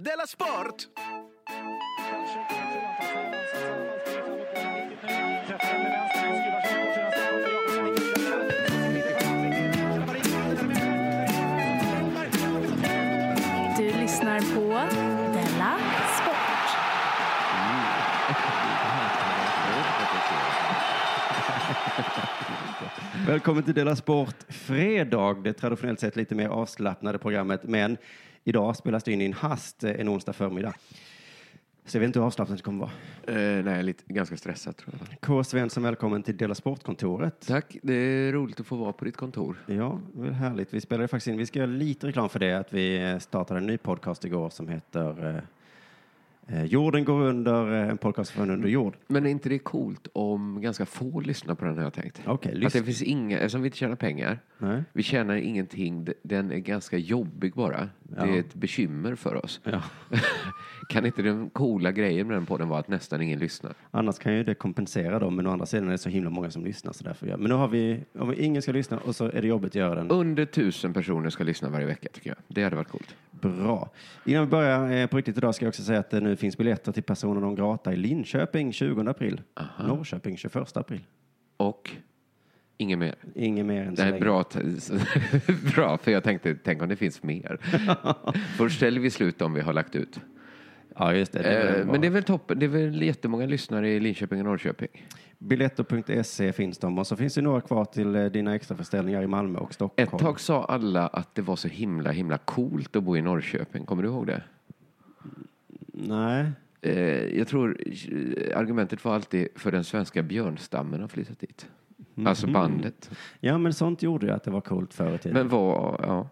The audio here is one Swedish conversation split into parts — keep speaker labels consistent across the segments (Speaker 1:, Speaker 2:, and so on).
Speaker 1: Della Sport!
Speaker 2: Du lyssnar på Della Sport.
Speaker 3: Välkommen till Dela Sport Fredag, det traditionellt sett lite mer avslappnade programmet, men idag spelas det in i en hast eh, en onsdag förmiddag. Så jag vet inte hur avslappnat det kommer vara.
Speaker 4: Eh, nej, lite, ganska stressad tror jag.
Speaker 3: K. Svensson, välkommen till Dela Sport-kontoret.
Speaker 4: Tack, det är roligt att få vara på ditt kontor.
Speaker 3: Ja, det är väl härligt. Vi spelade faktiskt in, vi ska göra lite reklam för det, att vi eh, startade en ny podcast igår som heter eh, eh, Jorden går under, eh, en podcast från under jord.
Speaker 4: Men är inte det coolt om ganska få lyssnar på den har jag tänkt?
Speaker 3: Okej,
Speaker 4: Att det
Speaker 3: lyssna.
Speaker 4: finns inga, eftersom vi inte tjänar pengar,
Speaker 3: Nej.
Speaker 4: vi tjänar ingenting, d- den är ganska jobbig bara. Det är ett bekymmer för oss.
Speaker 3: Ja.
Speaker 4: kan inte den coola grejen med den podden vara att nästan ingen lyssnar?
Speaker 3: Annars kan ju det kompensera dem, men å andra sidan är det så himla många som lyssnar. Så därför gör. Men nu har vi, om ingen ska lyssna och så är det jobbigt att göra den.
Speaker 4: Under tusen personer ska lyssna varje vecka tycker jag. Det hade varit coolt.
Speaker 3: Bra. Innan vi börjar eh, på riktigt idag ska jag också säga att det nu finns biljetter till personer non grata i Linköping 20 april, Norrköping 21 april.
Speaker 4: Och inget mer.
Speaker 3: Inget mer än så
Speaker 4: Det här är
Speaker 3: länge.
Speaker 4: bra, t- bra, för jag tänkte, tänk om det finns mer. Först ställer vi slut om vi har lagt ut.
Speaker 3: Ja, just det. det är
Speaker 4: Eh,
Speaker 3: väl bra.
Speaker 4: Men det är väl toppen, det är väl jättemånga lyssnare i Linköping och Norrköping.
Speaker 3: Biletto.se E finns de och så finns det några kvar till eh, dina extraföreställningar i Malmö och Stockholm.
Speaker 4: Ett tag sa alla att det var så himla, himla coolt att bo i Norrköping. Kommer du ihåg det?
Speaker 3: Nej.
Speaker 4: Eh, Jag tror eh, argumentet var alltid för den svenska björnstammen har flyttat dit.
Speaker 3: Mhm.
Speaker 4: Alltså bandet.
Speaker 3: Ja, men sånt gjorde ju att det var coolt förr i tiden.
Speaker 4: Men var, ja.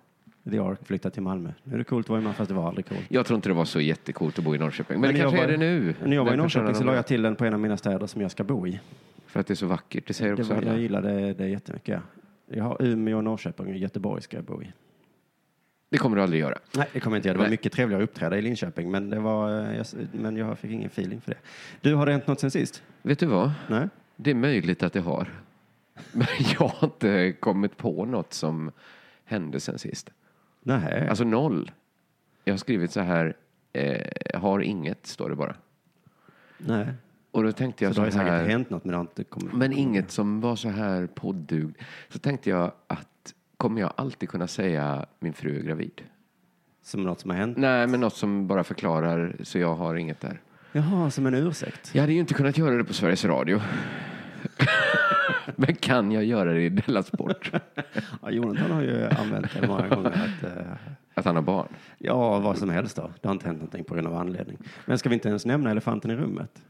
Speaker 3: The Ark flyttade till Malmö. Nu är det coolt att vara i Malmö, fast det var aldrig coolt.
Speaker 4: Jag tror inte det var så jättecoolt att bo i Norrköping. Men,
Speaker 3: Men
Speaker 4: det
Speaker 3: jag
Speaker 4: kanske
Speaker 3: var-
Speaker 4: är det nu.
Speaker 3: När jag var i
Speaker 4: Den
Speaker 3: Norrköping
Speaker 4: personen
Speaker 3: så la jag till den på en av mina städer som jag ska bo i.
Speaker 4: För att det är så vackert, det säger
Speaker 3: Det
Speaker 4: också
Speaker 3: var,
Speaker 4: alla.
Speaker 3: jag gillade det jättemycket. Jag har Umeå, Norrköping och Göteborg ska jag bo i.
Speaker 4: Det kommer du aldrig göra.
Speaker 3: Nej, det kommer jag inte göra. Det var
Speaker 4: Nej.
Speaker 3: mycket trevligare att uppträda i Linköping, men, det var, eh, jag, men jag fick ingen feeling för det. Du, har det hänt något sen sist?
Speaker 4: Vet du vad?
Speaker 3: Nej?
Speaker 4: Det är möjligt att det har. Men jag har inte kommit på något som hände sen sist.
Speaker 3: Nej.
Speaker 4: Alltså noll. Jag har skrivit så här, eh, har inget, står det bara.
Speaker 3: Nej.
Speaker 4: Och då tänkte
Speaker 3: Så
Speaker 4: jag
Speaker 3: det har
Speaker 4: så,
Speaker 3: ju säkert
Speaker 4: här,
Speaker 3: hänt något, men det har inte kommit.
Speaker 4: men inget som var så här poddugd. Så tänkte jag att kommer jag alltid kunna säga min fru är gravid?
Speaker 3: Som något som har hänt?
Speaker 4: Nej, men något som bara förklarar så jag har inget där.
Speaker 3: Jaha, som en ursäkt?
Speaker 4: Jag hade ju inte kunnat göra det på Sveriges Radio. men kan jag göra det i Della Sport?
Speaker 3: Ja, Jonathan har ju använt det många gånger. Att, eh,
Speaker 4: Att han har barn?
Speaker 3: ja, vad som helst då. Det har inte hänt någonting på grund av anledning. Men ska vi inte ens nämna elefanten i rummet?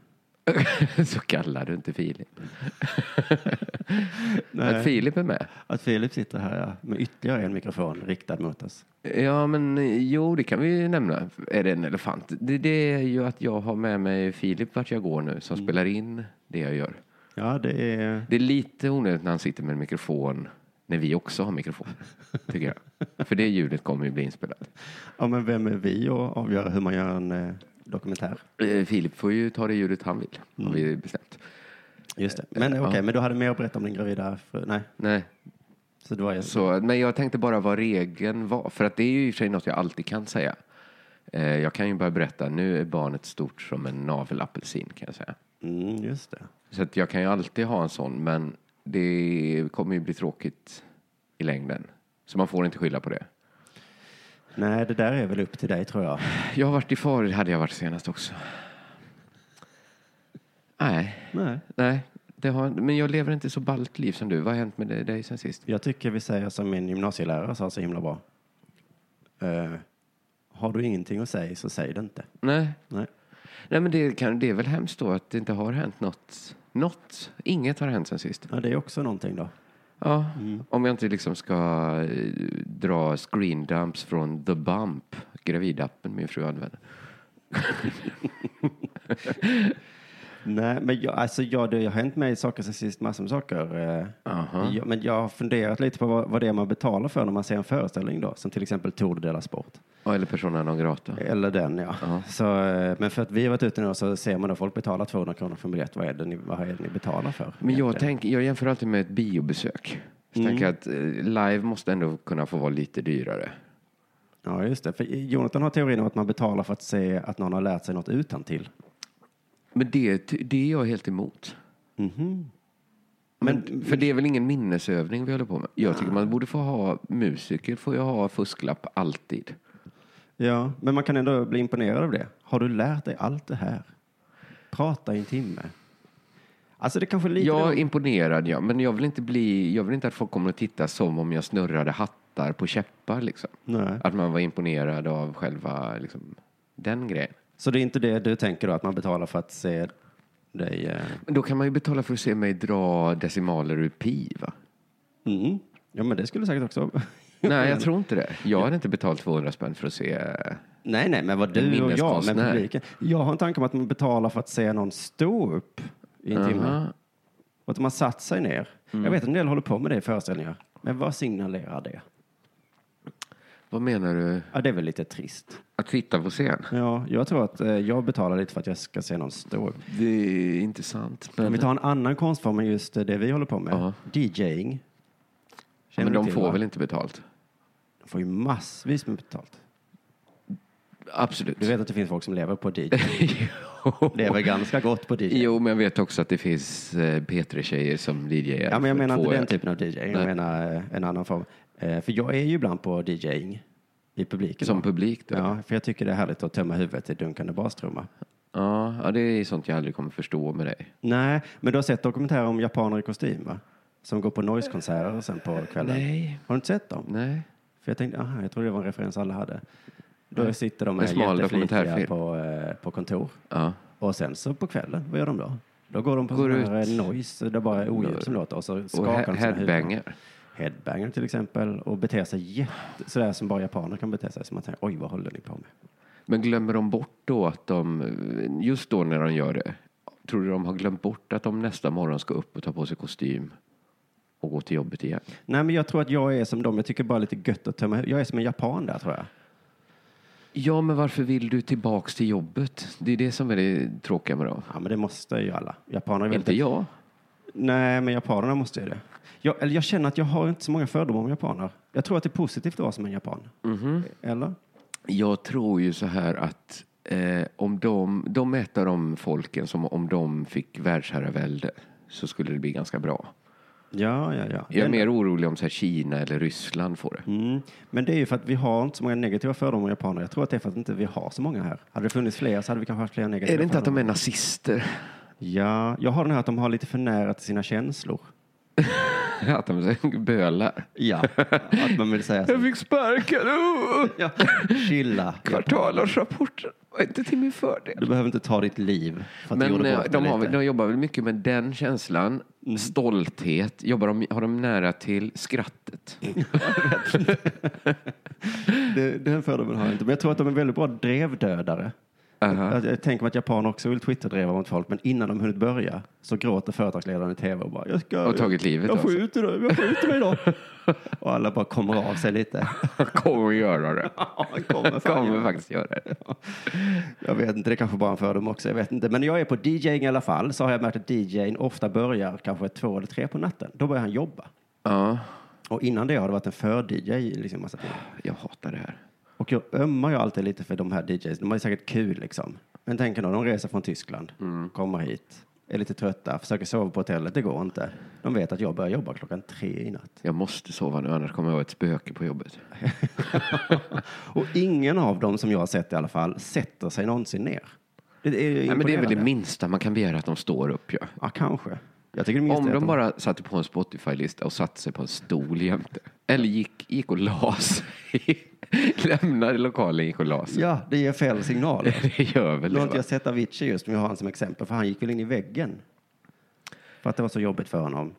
Speaker 4: Så kallar du inte Filip.
Speaker 3: Nej.
Speaker 4: Att Filip är med?
Speaker 3: Att Filip sitter här ja, med ytterligare en mikrofon riktad mot oss.
Speaker 4: Ja, men eh, jo, det kan vi ju nämna. Är det en elefant? Det, det är ju att jag har med mig Filip vart jag går nu som spelar in det jag gör.
Speaker 3: Ja, det är...
Speaker 4: Det är lite onödigt när han sitter med en mikrofon när vi också har mikrofon, tycker jag. För det ljudet kommer ju bli inspelat.
Speaker 3: Ja, men vem är vi att avgöra hur man gör en eh, dokumentär?
Speaker 4: Eh, Filip får ju ta det ljudet han vill, har vi bestämt.
Speaker 3: Just det. Men okej, men du hade mer att berätta om din gravida fru? Nej,
Speaker 4: Nej,
Speaker 3: så det var ju...
Speaker 4: Så, men jag tänkte bara vad regeln var. För att det är ju i och för sig något jag alltid kan säga. Eh, jag kan ju bara berätta, nu är barnet stort som en navelapelsin kan jag säga.
Speaker 3: Mm, just det.
Speaker 4: Så att jag kan ju alltid ha en sån, men det kommer ju bli tråkigt i längden. Så man får inte skylla på det.
Speaker 3: Nej, det där är väl upp till dig tror jag.
Speaker 4: Jag har varit i Farid, hade jag varit senast också. Nej,
Speaker 3: Nej.
Speaker 4: nej. Det har, men jag lever inte så ballt liv som du. Vad har hänt med dig- dig sen sist?
Speaker 3: Jag tycker vi säger som min gymnasielärare sa så himla bra. Eh, har du ingenting att säga så säg det inte.
Speaker 4: Nej,
Speaker 3: Nej.
Speaker 4: Nej, men det, kan, det är väl hemskt då att det inte har hänt något. Något. Inget har hänt sen sist.
Speaker 3: Ja, det är också någonting då.
Speaker 4: Ja, om jag inte liksom ska eh, dra screen dumps från The Bump, gravidappen min fru använder.
Speaker 3: Nej, men jag, alltså, jag, det har hänt mig saker sen sist, massor med saker. Eh, jag, men jag har funderat lite på vad, vad det är man betalar för när man ser en föreställning då, som till exempel Tour de Dela Sport.
Speaker 4: Ja, Eller Persona non grata.
Speaker 3: Eller den ja. Så, eh, men för att vi har varit ute nu så ser man att folk betalar 200 kronor för en biljett. Vad är det ni, vad är det ni betalar för?
Speaker 4: Men jag,
Speaker 3: egentligen?
Speaker 4: tänker, jag jämför alltid med ett biobesök. Så tänker jag att eh, live måste ändå kunna få vara lite dyrare.
Speaker 3: Ja, just det. För Jonathan har teorin om att man betalar för att se att någon har lärt sig något utan till.
Speaker 4: Men det, ty- det är jag helt emot. Men, för det är väl ingen minnesövning vi håller på med? Jag tycker man borde få ha, musiker får ju ha fusklapp alltid.
Speaker 3: Ja, men man kan ändå bli imponerad av det. Har du lärt dig allt det här? Prata i en timme. Alltså det kanske är lite...
Speaker 4: Jag är imponerad, ja, men jag vill, inte bli, jag vill inte att folk kommer att titta som om jag snurrade hattar på käppar. Liksom.
Speaker 3: Nej.
Speaker 4: Att man var imponerad av själva liksom, den grejen.
Speaker 3: Så det är inte det du tänker då, att man betalar för att se dig... Eh...
Speaker 4: Men Då kan man ju betala för att se mig dra decimaler ur pi, va?
Speaker 3: Mm. Ja, men det skulle säkert också...
Speaker 4: Nej, jag tror inte det. Jag hade inte betalt 200 spänn för att se...
Speaker 3: Nej, nej, men vad du och jag, men
Speaker 4: minneskonstnär.
Speaker 3: publiken. Jag har en tanke om att man betalar för att se någon stå upp i en timme.
Speaker 4: Aha. Mm.
Speaker 3: Och att man satt sig ner. Jag vet att en del håller på med det i föreställningar. Men vad signalerar det?
Speaker 4: Vad menar du?
Speaker 3: Ja, det är väl lite trist.
Speaker 4: Att sitta på scen?
Speaker 3: Ja, jag tror att eh, jag betalar lite för att jag ska se någon stå upp.
Speaker 4: Det är inte sant.
Speaker 3: Om
Speaker 4: Men,
Speaker 3: vi tar en annan konstform än just eh, det vi håller på med.
Speaker 4: Ja.
Speaker 3: DJing. Känner
Speaker 4: men
Speaker 3: du
Speaker 4: de
Speaker 3: till,
Speaker 4: får
Speaker 3: va?
Speaker 4: väl inte betalt?
Speaker 3: De får ju massvis med betalt.
Speaker 4: Absolut.
Speaker 3: Du vet att det finns folk som lever på DJ. lever ganska gott på DJ.
Speaker 4: Jo, men jag vet också att det finns eh, P3-tjejer som DJar.
Speaker 3: Ja, men jag
Speaker 4: för
Speaker 3: menar
Speaker 4: två
Speaker 3: inte den
Speaker 4: öre.
Speaker 3: typen av DJ. Jag
Speaker 4: Nej.
Speaker 3: menar eh, en annan form. Eh, För jag är ju ibland på DJing i publiken.
Speaker 4: Som publik då? Ja.
Speaker 3: Ja, för jag tycker det är härligt att tömma huvudet i dunkande bastrumma.
Speaker 4: Ja, det är sånt jag aldrig kommer förstå med dig.
Speaker 3: Nej, men du har sett dokumentärer om japaner i kostym, va? Som går på noise-konserter sen på kvällen.
Speaker 4: Nej.
Speaker 3: Har du inte sett dem?
Speaker 4: Nej.
Speaker 3: För jag tänkte, aha, jag trodde det var en referens alla hade. Då sitter de
Speaker 4: En smal
Speaker 3: jätteflitiga
Speaker 4: dokumentärfilm.
Speaker 3: på, eh, på kontor.
Speaker 4: Ja.
Speaker 3: Och sen så på kvällen, vad gör de då? Då går de på
Speaker 4: Går
Speaker 3: sån här
Speaker 4: ut.
Speaker 3: eh, noise, det bara är oljud som låter. Och så skakar
Speaker 4: Och
Speaker 3: de
Speaker 4: he-
Speaker 3: sina huvuden.
Speaker 4: headbanger.
Speaker 3: Headbanger till exempel. Och beter sig jätte, sådär som bara japaner kan bete sig. Som man tänker, oj vad håller ni på med?
Speaker 4: Men glömmer de bort då att de, just då när de gör det, tror du de har glömt bort att de nästa morgon ska upp och ta på sig kostym och gå till jobbet igen?
Speaker 3: Nej men jag tror att jag är som dem, jag tycker bara lite gött att tömma hu- Jag är som en japan där tror jag.
Speaker 4: Ja, men varför vill du tillbaks till jobbet? Det är det som är det tråkiga med dem.
Speaker 3: Ja men det måste ju alla. Japaner är väldigt...
Speaker 4: Inte jag.
Speaker 3: Nej men japanerna måste ju det. Jag, eller jag känner att jag har inte så många fördomar om japaner. Jag tror att det är positivt att vara som en japan.
Speaker 4: Mhm.
Speaker 3: Eller?
Speaker 4: Jag tror ju så här att eh, om de, de är ett av de folken som om de fick världsherravälde så skulle det bli ganska bra.
Speaker 3: Ja, ja, ja.
Speaker 4: Jag är mer orolig om så här Kina eller Ryssland får det.
Speaker 3: Mm. Men det är ju för att vi har inte så många negativa fördomar om japaner. Jag tror att det är för att inte vi har så många här. Hade det funnits fler så hade vi kanske haft fler negativa
Speaker 4: Är det inte att de
Speaker 3: fördomar.
Speaker 4: är nazister?
Speaker 3: Ja, jag har den här att de har lite för nära till sina känslor.
Speaker 4: Att de bölar?
Speaker 3: Ja, att man vill säga så.
Speaker 4: fick sparken! Oh!
Speaker 3: Ja. Chilla.
Speaker 4: Kvartalårsrapporten var inte till min fördel.
Speaker 3: Du behöver inte ta ditt liv för att du
Speaker 4: Men
Speaker 3: gjorde
Speaker 4: eh,
Speaker 3: bort
Speaker 4: de,
Speaker 3: dig
Speaker 4: har, väl-
Speaker 3: lite.
Speaker 4: de jobbar väl mycket med den känslan, stolthet. Jobbar de, har de nära till skrattet?
Speaker 3: Det, den fördomen har jag inte. Men jag tror att de är väldigt bra drevdödare.
Speaker 4: Aha.
Speaker 3: Jag, jag tänker mig att japaner också vill twitterdreva mot folk, men innan de hunnit börja så gråter företagsledaren i tv och bara jag ska,
Speaker 4: Och tagit livet
Speaker 3: jag, jag
Speaker 4: av sig.
Speaker 3: skjuter dig, jag skjuter mig då. och alla bara kommer av sig lite.
Speaker 4: Kommer att göra det.
Speaker 3: Ja, han kommer fan
Speaker 4: Kommer
Speaker 3: göra
Speaker 4: faktiskt göra det.
Speaker 3: Jag vet inte, det kanske bara är en fördom också. Jag vet inte. Men när jag är på DJing i alla fall så har jag märkt att DJing ofta börjar kanske två eller tre på natten. Då börjar han jobba.
Speaker 4: Ja,
Speaker 3: Och innan det har det varit en för-DJ liksom massa timmar.
Speaker 4: jag hatar det här.
Speaker 3: Och jag ömmar ju alltid lite för de här DJs. De har ju säkert kul liksom. Men tänk då, de reser från Tyskland,
Speaker 4: Mm.
Speaker 3: kommer hit, är lite trötta, försöker sova på hotellet. Det går inte. De vet att jag börjar jobba klockan tre i natt.
Speaker 4: Jag måste sova nu, annars kommer jag vara ett spöke på jobbet.
Speaker 3: Och ingen av dem som jag har sett i alla fall sätter sig någonsin ner. Det är ju
Speaker 4: Nej, men det är väl det
Speaker 3: imponerande.
Speaker 4: minsta man kan begära att de står upp. Ja.
Speaker 3: Ja, kanske. Jag tycker det minsta
Speaker 4: Om
Speaker 3: är att
Speaker 4: de bara satte på en Spotify-lista och satte sig på en stol jämte. Eller gick, gick och la sig. Lämnade lokalen, gick och la sig.
Speaker 3: Ja, det ger fel signaler.
Speaker 4: Det gör väl
Speaker 3: Nu har
Speaker 4: det.
Speaker 3: inte
Speaker 4: va?
Speaker 3: jag sett Avicii just, men jag har han som exempel, för han gick väl in i väggen. För att det var så jobbigt för honom.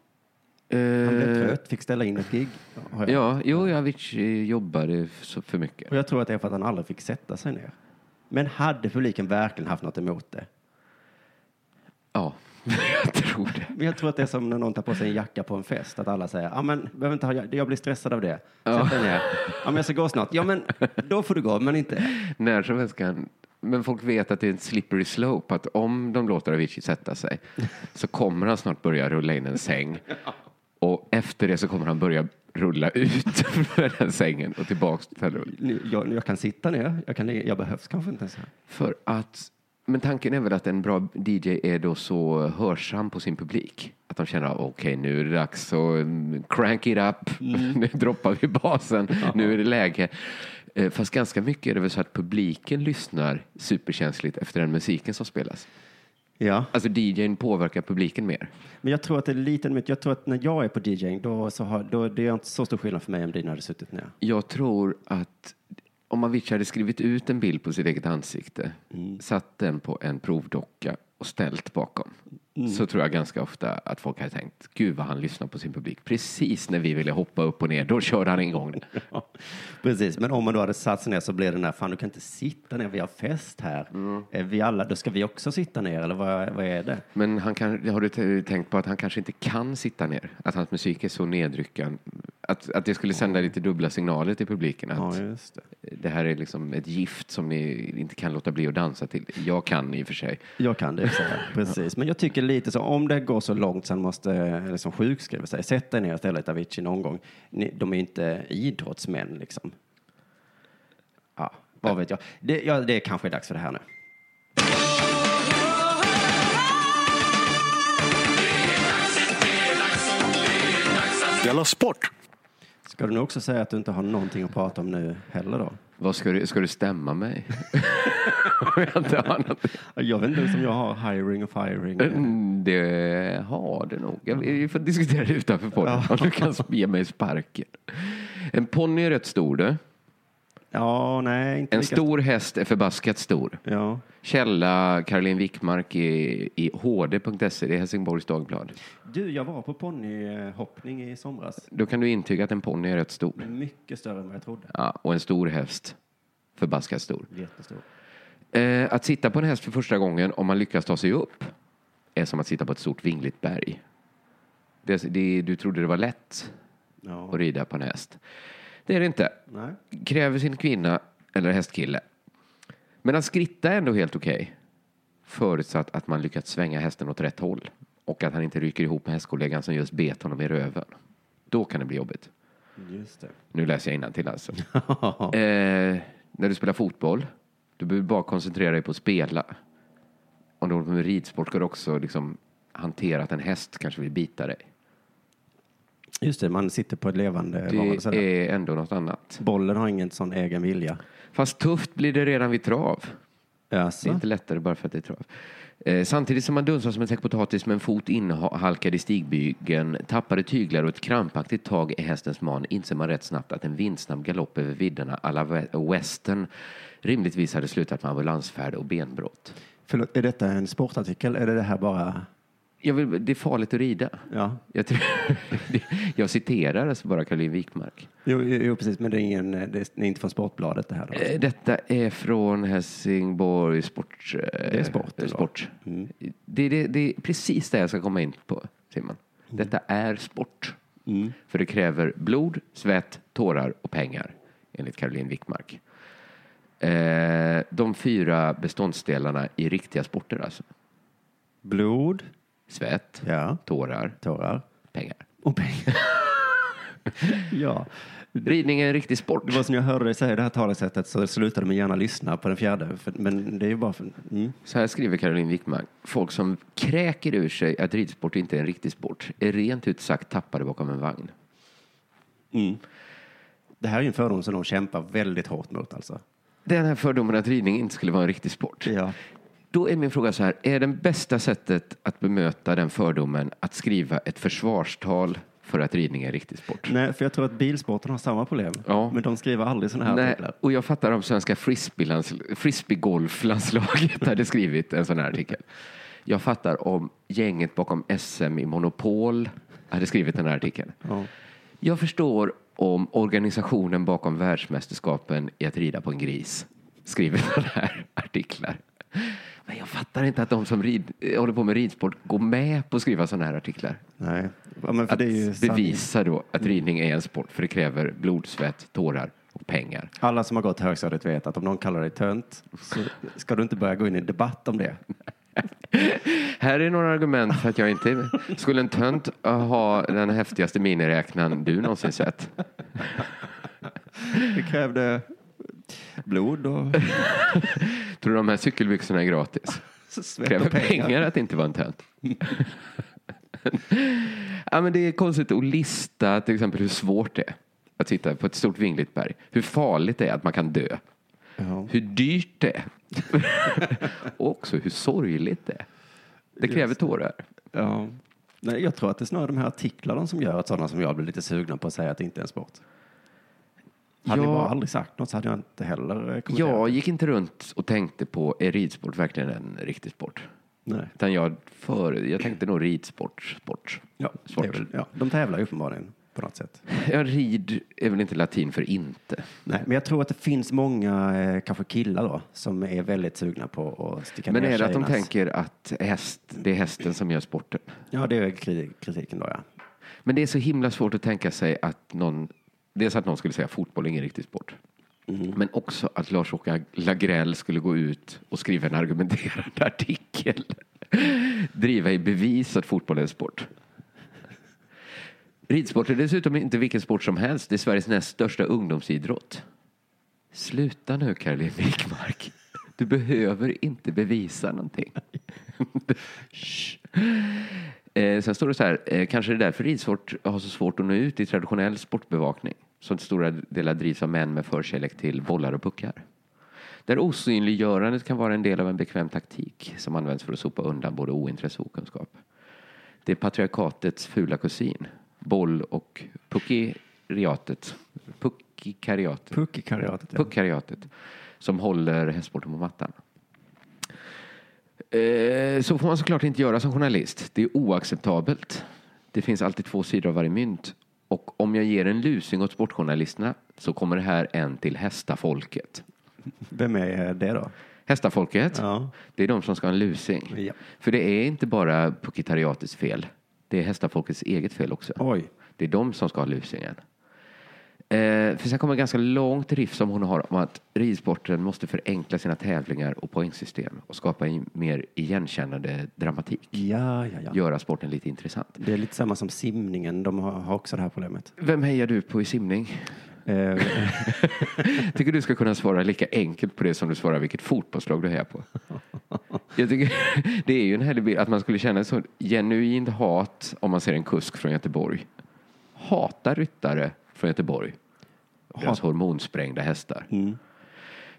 Speaker 3: Han blev trött, fick ställa in ett gig. har jag-
Speaker 4: Eh, Ja, jo, Avicii jobbade f- så- för mycket.
Speaker 3: Och jag tror att det är för att han aldrig fick sätta sig ner. Men hade publiken verkligen haft något emot det?
Speaker 4: Ja, jag tror det.
Speaker 3: Men jag tror att det är som när någon tar på sig en jacka på en fest, att alla säger, ja men behöver inte ha, jack- jag blir stressad av det. Sätt dig ner. Ja men jag ska gå snart. Ja men då får du gå, men inte.
Speaker 4: När som helst kan... Men folk vet att det är en slippery slope, att om de låter Avicii sätta sig så kommer han snart börja rulla in en säng. Och efter det så kommer han börja rulla ut från den sängen och tillbaks till hotellrummet.
Speaker 3: Nu- Jag, jag kan sitta ner. Jag, kan, ligga- jag behövs kanske inte ens här.
Speaker 4: För att, men tanken är väl att en bra DJ är då så hörsam på sin publik. Att de känner okej nu är det dags så mm, crank it up, nu droppar vi basen, nu är det läge. Eh, Fast ganska mycket är det väl så att publiken lyssnar superkänsligt efter den musiken som spelas.
Speaker 3: Ja.
Speaker 4: Alltså DJn påverkar publiken mer.
Speaker 3: Men jag tror att det är lite, men jag tror att när jag är på DJing då, så har, då det är inte så stor skillnad för mig om dina hade suttit ner.
Speaker 4: Jag tror att om Avicii hade skrivit ut en bild på sitt eget ansikte,
Speaker 3: Mm.
Speaker 4: satt den på en provdocka och ställt bakom,
Speaker 3: Mm.
Speaker 4: så tror jag ganska ofta att folk hade tänkt, gud vad han lyssnar på sin publik. Precis när vi ville hoppa upp och ner, då körde han igång den.
Speaker 3: Ja, precis, men om man då hade satt sig ner så blev det den här, fan du kan inte sitta ner, vi har fest här. Är vi alla, då ska vi också sitta ner eller vad, vad är det?
Speaker 4: Men han kan, har du t- tänkt på att han kanske inte kan sitta ner? Att hans musik är så nedryckande? Att, att det skulle sända lite dubbla signaler till publiken? Att
Speaker 3: Ja, just det.
Speaker 4: det här är liksom ett gift som ni inte kan låta bli att dansa till. Jag kan i och för sig.
Speaker 3: Jag kan det, i och för sig. precis. Men jag tycker lite så, om det går så långt så han måste eh, liksom sjukskriva sig, sätt dig ner istället Avicii någon gång. Ni, de är ju inte idrottsmän liksom. Ja, vad vet jag. Det, ja, det är kanske är dags för det här nu.
Speaker 1: Della Sport!
Speaker 3: Ska du nu också säga att du inte har någonting att prata om nu heller då?
Speaker 4: Vad ska du, ska du stämma mig? Om jag inte har något.
Speaker 3: Jag vet inte ens om jag har hiring och firing.
Speaker 4: Mm, Det har du nog. Jag, vi får diskutera det utanför podden. Om du kan ge mig sparken. En ponny är rätt stor du.
Speaker 3: Ja, nej, inte
Speaker 4: En
Speaker 3: lika
Speaker 4: stor häst är förbaskat stor.
Speaker 3: Ja.
Speaker 4: Källa Caroline Wickmark i, i hd.se, E, det är Helsingborgs Dagblad.
Speaker 3: Du, jag var på ponnyhoppning i somras.
Speaker 4: Då kan du intyga att en ponny är rätt stor.
Speaker 3: Mycket större än vad jag trodde.
Speaker 4: Ja, och en stor häst, förbaskat stor.
Speaker 3: Jättestor.
Speaker 4: Eh, att sitta på en häst för första gången, om man lyckas ta sig upp, är som att sitta på ett stort vingligt berg. Det, det, du trodde det var lätt
Speaker 3: Ja.
Speaker 4: att rida på en häst. Det är det inte.
Speaker 3: Nej.
Speaker 4: Kräver sin kvinna eller hästkille. Men att skritta är ändå helt okej. Förutsatt att man lyckats svänga hästen åt rätt håll och att han inte rycker ihop med hästkollegan som just bet honom i röven. Då kan det bli jobbigt.
Speaker 3: Just det.
Speaker 4: Nu läser jag innantill alltså. eh, när du spelar fotboll, du behöver bara koncentrera dig på att spela. Om du håller på med ridsport ska du också liksom hantera att en häst kanske vill bita dig.
Speaker 3: Just det, man sitter på ett levande varelse.
Speaker 4: Det
Speaker 3: där.
Speaker 4: är ändå något annat.
Speaker 3: Bollen har ingen sån egen vilja.
Speaker 4: Fast tufft blir det redan vid trav. Det är
Speaker 3: Jaså?
Speaker 4: inte lättare bara för att det är trav. Eh, samtidigt som man dunsar som en säck potatis med en fot inhalkad i stigbygeln, tappade tyglar och ett krampaktigt tag i hästens man inser man rätt snabbt att en vindsnabb galopp över vidderna alla western rimligtvis hade slutat med ambulansfärd och benbrott.
Speaker 3: Förlåt, är detta en sportartikel? Är det det här bara...
Speaker 4: Jag vill, det är farligt att rida.
Speaker 3: Ja.
Speaker 4: Jag, tror, jag citerar alltså bara Caroline Wikmark.
Speaker 3: Jo, jo, jo precis, men det är, ingen, det är inte från Sportbladet det här. Då.
Speaker 4: Eh, Detta är från Helsingborg Sport. eh,
Speaker 3: är sport, eller? Mm.
Speaker 4: sport. Det, det, det är precis det jag ska komma in på, Simon.
Speaker 3: Mm.
Speaker 4: Detta är sport. För det kräver blod, svett, tårar och pengar, enligt Caroline Wickmark. Eh, de fyra beståndsdelarna i riktiga sporter, alltså.
Speaker 3: Blod,
Speaker 4: Svett,
Speaker 3: ja,
Speaker 4: tårar,
Speaker 3: tårar
Speaker 4: pengar.
Speaker 3: och pengar. ja.
Speaker 4: Ridning är en riktig sport.
Speaker 3: Det var som jag hörde dig säga det här talesättet så slutade man gärna lyssna på den fjärde. För, men det är ju bara för... Mm.
Speaker 4: Så här skriver Caroline Wickman. Folk som kräker ur sig att ridsport inte är en riktig sport är rent ut sagt tappade bakom en vagn.
Speaker 3: Det här är ju en fördom som de kämpar väldigt hårt mot alltså.
Speaker 4: Den här fördomen att ridning inte skulle vara en riktig sport.
Speaker 3: Ja.
Speaker 4: Då är min fråga så här, är det bästa sättet att bemöta den fördomen att skriva ett försvarstal för att ridning är en riktig sport?
Speaker 3: Nej, för jag tror att bilsporten har samma problem.
Speaker 4: Ja.
Speaker 3: Men de skriver aldrig sådana här
Speaker 4: Nej,
Speaker 3: artiklar.
Speaker 4: och jag fattar om svenska frisbeelands- frisbeegolflandslaget hade skrivit en sån här artikel. Jag fattar om gänget bakom SM i Monopol hade skrivit den här artikeln.
Speaker 3: Ja.
Speaker 4: Jag förstår om organisationen bakom världsmästerskapen i att rida på en gris skriver sådana här artiklar. Men jag fattar inte att de som rid, eh, håller på med ridsport går med på att skriva sådana här artiklar.
Speaker 3: Nej. Ja, men för
Speaker 4: Att
Speaker 3: det är ju sanning.
Speaker 4: bevisa då att ridning är en sport för det kräver blod, svett, tårar och pengar.
Speaker 3: Alla som har gått högstadiet vet att om någon kallar dig tönt så ska du inte börja gå in i debatt om det.
Speaker 4: Här är några argument för att jag inte är med. Skulle en tönt ha den häftigaste miniräknaren du någonsin sett?
Speaker 3: Det krävde blod och
Speaker 4: Tror du de här cykelbyxorna är gratis?
Speaker 3: svett
Speaker 4: Kräver
Speaker 3: och pengar.
Speaker 4: pengar att inte vara en tönt. ja, men det är konstigt att lista till exempel hur svårt det är att sitta på ett stort vingligt berg. Hur farligt det är att man kan dö.
Speaker 3: Ja.
Speaker 4: Hur dyrt det är. Och också hur sorgligt det är. Det kräver tårar.
Speaker 3: Ja. Nej, jag tror att det är snarare de här artiklarna som gör att sådana som jag blir lite sugna på att säga att det inte är en sport. Hade
Speaker 4: Ja.
Speaker 3: ni bara aldrig sagt något så hade jag inte heller eh, kommenterat.
Speaker 4: Jag gick inte runt och tänkte på, är ridsport verkligen en riktig sport?
Speaker 3: Nej.
Speaker 4: Utan jag, för, jag tänkte nog ridsport, sport.
Speaker 3: Ja,
Speaker 4: Sport.
Speaker 3: det är väl, ja, de tävlar ju uppenbarligen på något sätt.
Speaker 4: Ja, rid är väl inte latin för inte.
Speaker 3: Nej, men jag tror att det finns många, eh, kanske killar då, som är väldigt sugna på att sticka
Speaker 4: Men
Speaker 3: ner
Speaker 4: är det att de
Speaker 3: tjejernas-
Speaker 4: tänker att häst, det är hästen som gör sporten?
Speaker 3: Ja, det är kriti- kritiken då, ja.
Speaker 4: Men det är så himla svårt att tänka sig att någon, dels att någon skulle säga fotboll är ingen riktig sport. Men också att Lars-Åke Lagrell skulle gå ut och skriva en argumenterande artikel. Driva i bevis att fotboll är en sport. Ridsport är dessutom inte vilken sport som helst. Det är Sveriges näst största ungdomsidrott. Sluta nu Caroline Wikmark. Du behöver inte bevisa någonting. Eh, sen står det så här, eh, kanske det är därför ridsport har så svårt att nå ut i traditionell sportbevakning som till stora delar drivs av män med förkärlek till bollar och puckar. Där osynliggörandet kan vara en del av en bekväm taktik som används för att sopa undan både ointresse och okunskap. Det är patriarkatets fula kusin, boll och puckiriatet, puckikariatet,
Speaker 3: Puckikariatet. Ja.
Speaker 4: puckariatet som håller hästsporten på mattan. Eh, Så får man såklart inte göra som journalist. Det är oacceptabelt. Det finns alltid två sidor av varje mynt. Och om jag ger en lusing åt sportjournalisterna så kommer det här en till hästafolket.
Speaker 3: Vem är eh, det då?
Speaker 4: Hästafolket,
Speaker 3: Ja.
Speaker 4: det är de som ska ha en lusing.
Speaker 3: Ja.
Speaker 4: För det är inte bara pukitariatets fel. Det är hästafolkets eget fel också.
Speaker 3: Oj.
Speaker 4: Det är de som ska ha lusingen. Eh, för sen kommer en ganska långt riff som hon har om att ridsporten måste förenkla sina tävlingar och poängsystem och skapa en mer igenkännande dramatik.
Speaker 3: Ja, ja, ja.
Speaker 4: Göra sporten lite intressant.
Speaker 3: Det är lite samma som simningen. De har, har också det här problemet.
Speaker 4: Vem hejar du på i simning?
Speaker 3: Eh,
Speaker 4: tycker du ska kunna svara lika enkelt på det som du svarar vilket fotbollslag du hejar på. Jag tycker, det är ju en härlig bild att man skulle känna ett sånt genuint hat om man ser en kusk från Göteborg. Hata ryttare från Göteborg. Deras hormonsprängda hästar.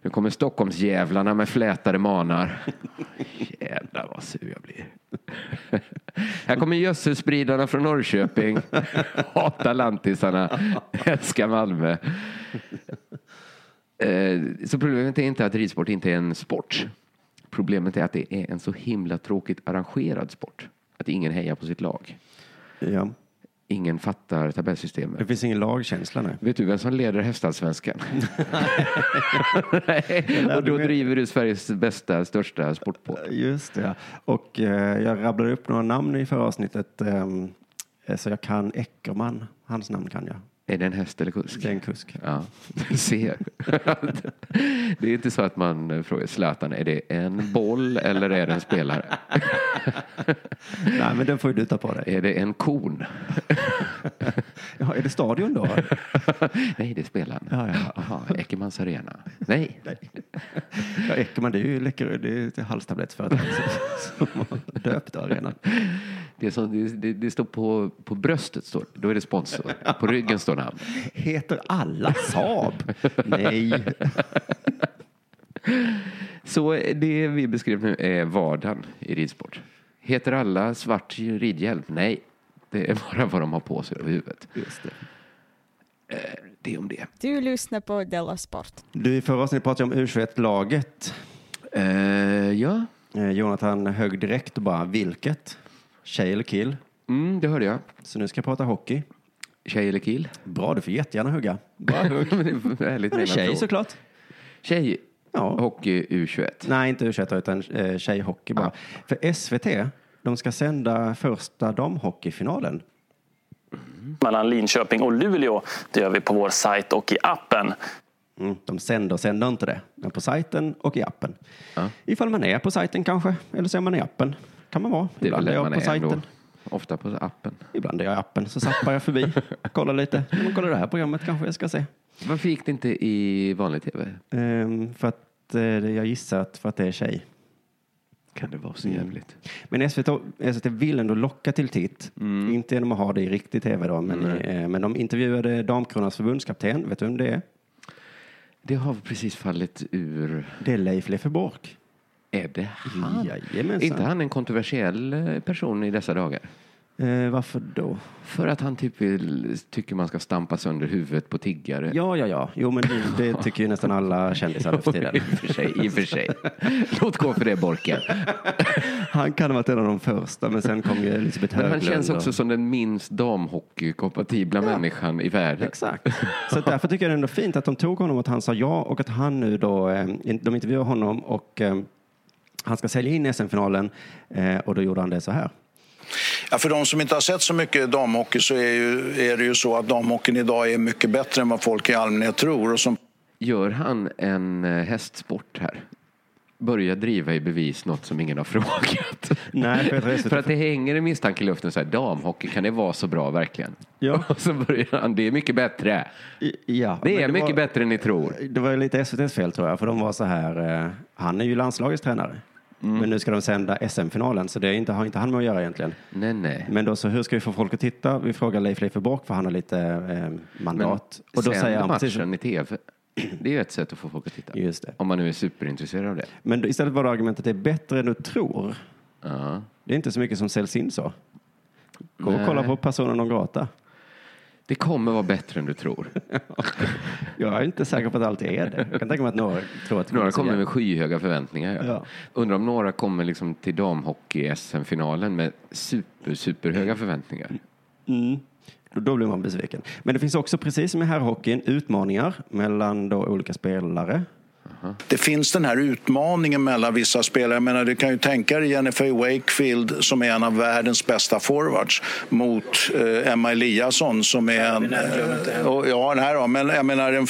Speaker 4: Nu kommer Stockholmsjävlarna med flätade manar. Jävlar vad sur jag blir. Här kommer gödselspridarna från Norrköping. Hatar lantisarna. Älskar Malmö. Eh, Så problemet är inte att ridsport inte är en sport. Problemet är att det är en så himla tråkigt arrangerad sport. Att ingen hejar på sitt lag.
Speaker 3: ja.
Speaker 4: Ingen fattar tabellsystemet.
Speaker 3: Det finns ingen lagkänsla nu.
Speaker 4: Vet du vem som leder hästallsvenskan? Nej. Och då
Speaker 3: mig.
Speaker 4: driver du Sveriges bästa, största sportpodd.
Speaker 3: Just det. Och eh, jag rabblade upp några namn i förra avsnittet. ehm, eh, så jag kan Eckerman. Hans namn kan jag.
Speaker 4: Är det en häst eller kusk?
Speaker 3: Det är en kusk.
Speaker 4: Ja, du ser. det är inte så att man eh, frågar Zlatan, är det en boll eller är det en spelare?
Speaker 3: Nej, men den får ju du ta på dig.
Speaker 4: Är det en kon?
Speaker 3: Ja, är det stadion då?
Speaker 4: Nej, det är spelaren.
Speaker 3: Ja, ja.
Speaker 4: Aha, Eckermans arena. Nej.
Speaker 3: Ja, Eckerman, det är ju läcker, det är ett halstablettsföretag som som har döpt arenan.
Speaker 4: Det, är som, det, det, det står på, på bröstet, står, det. då är det sponsor. På ryggen står namn.
Speaker 3: Heter alla Saab? Nej.
Speaker 4: Så det vi beskrev nu är vardagen i ridsport. Heter alla svart ridhjälm? Nej, det är bara vad de har på sig på huvudet.
Speaker 3: Just det.
Speaker 4: Det är om det.
Speaker 5: Du lyssnar på Della Sport.
Speaker 3: Du, i förra avsnittet pratade jag om U21-laget.
Speaker 4: Eh, ja,
Speaker 3: Eh, Jonathan högg direkt och bara, vilket? Tjej eller kill?
Speaker 4: mm, det hörde jag.
Speaker 3: Så nu ska jag prata hockey.
Speaker 4: Tjej eller kill?
Speaker 3: Bra, du får jättegärna hugga. Bara hugg.
Speaker 4: Men det är Härligt
Speaker 3: Eller
Speaker 4: menat
Speaker 3: tjej
Speaker 4: fråga.
Speaker 3: såklart.
Speaker 4: Tjej,
Speaker 3: Ja.
Speaker 4: hockey U21.
Speaker 3: Nej, inte u utan eh, tjejhockey bara. För SVT, de ska sända första damhockeyfinalen.
Speaker 6: mellan Linköping och Luleå. Det gör vi på vår sajt och i appen.
Speaker 3: Mm, de sänder, sänder inte det, men på sajten och i appen.
Speaker 4: Ja.
Speaker 3: Ifall man är på sajten kanske, eller så är man i appen. Kan man vara.
Speaker 4: Det är
Speaker 3: Ibland
Speaker 4: väl
Speaker 3: är
Speaker 4: det
Speaker 3: jag
Speaker 4: man
Speaker 3: på
Speaker 4: är
Speaker 3: sajten.
Speaker 4: ändå. Ofta på appen.
Speaker 3: Ibland är jag i appen, så zappar jag förbi, kollar lite. Ja, Men kolla det här programmet kanske jag ska se.
Speaker 4: Varför gick det inte i vanlig tv?
Speaker 3: Ehm, för att eh, jag gissar att för att det är tjej.
Speaker 4: Kan det vara så jävligt?
Speaker 3: Men SVT, SVT vill ändå locka till titt.
Speaker 4: Mm.
Speaker 3: Inte genom att ha det i riktig tv då, men, eh, men de intervjuade Damkronans förbundskapten. Vet du vem det är?
Speaker 4: Det har precis fallit ur.
Speaker 3: Det är Leif Lefferborg.
Speaker 4: Är det han?
Speaker 3: Jajamensan.
Speaker 4: Är inte han en kontroversiell eh, person i dessa dagar?
Speaker 3: Eh, varför då?
Speaker 4: För att han typ vill, tycker man ska stampa sönder huvudet på tiggare.
Speaker 3: Ja, ja, ja. Jo, men det, det tycker ju nästan alla kändisar nu för
Speaker 4: I
Speaker 3: tiden.
Speaker 4: och för sig. I och för sig. Låt gå för det, Borken.
Speaker 3: Han kan ha varit en av de första, men sen kom ju Elisabeth
Speaker 4: Men
Speaker 3: Höglund.
Speaker 4: han känns
Speaker 3: och-
Speaker 4: också som den minst damhockeykompatibla människan i världen.
Speaker 3: Exakt. Så att därför tycker jag det är ändå fint att de tog honom och att han sa ja och att han nu då, eh, de intervjuar honom och eh, han ska sälja in SM-finalen eh, och då gjorde han det så här.
Speaker 6: Ja, för de som inte har sett så mycket damhockey så är, ju, är det ju så att damhockeyn idag är mycket bättre än vad folk i allmänhet tror. Och som
Speaker 4: Gör han en eh, hästsport här? Börja driva i bevis något som ingen har frågat.
Speaker 3: Nej, för jag tror SVT
Speaker 4: För att det hänger en misstanke i luften så här, damhockey, kan det vara så bra verkligen?
Speaker 3: Ja.
Speaker 4: Och så börjar han, det är mycket bättre.
Speaker 3: I- Ja, men
Speaker 4: Det är mycket
Speaker 3: var,
Speaker 4: bättre än ni tror.
Speaker 3: Det var ju lite SVTs fel tror jag, för de var så här, eh, han är ju landslagets tränare. Men nu ska de sända SM-finalen, så det är inte, har inte han med att göra egentligen.
Speaker 4: Nej, nej.
Speaker 3: Men då så, hur ska vi få folk att titta? Vi frågar Leif Leiferborg, för han har lite eh, mandat. och då
Speaker 4: sänd
Speaker 3: säger han precis,
Speaker 4: matchen i tv. Det är ju ett sätt att få folk att titta.
Speaker 3: Just det.
Speaker 4: Om man nu är superintresserad av det.
Speaker 3: men då- istället var det argumentet, det är bättre än du tror.
Speaker 4: Ja.
Speaker 3: Det är inte så mycket som säljs in så. Gå och kolla på Persona non grata.
Speaker 4: Det kommer vara bättre än du tror.
Speaker 3: Jag är inte säker på att allt är det. Jag kan tänka mig att några tror att det
Speaker 4: Några
Speaker 3: så
Speaker 4: kommer
Speaker 3: jävla-
Speaker 4: med skyhöga förväntningar. Ja.
Speaker 3: Ja.
Speaker 4: Undrar om några kommer liksom till damhockey-SM-finalen med super, superhöga förväntningar.
Speaker 3: Mm. Då- Då blir man besviken. Men det finns också, precis som i herrhockeyn, utmaningar mellan då olika spelare.
Speaker 6: det finns den här utmaningen mellan vissa spelare. Jag menar, du kan ju tänka dig Jennifer Wakefield som är en av världens bästa forwards mot eh, Emma Eliasson som är en... Eh, och, ja, den här då, men jag menar en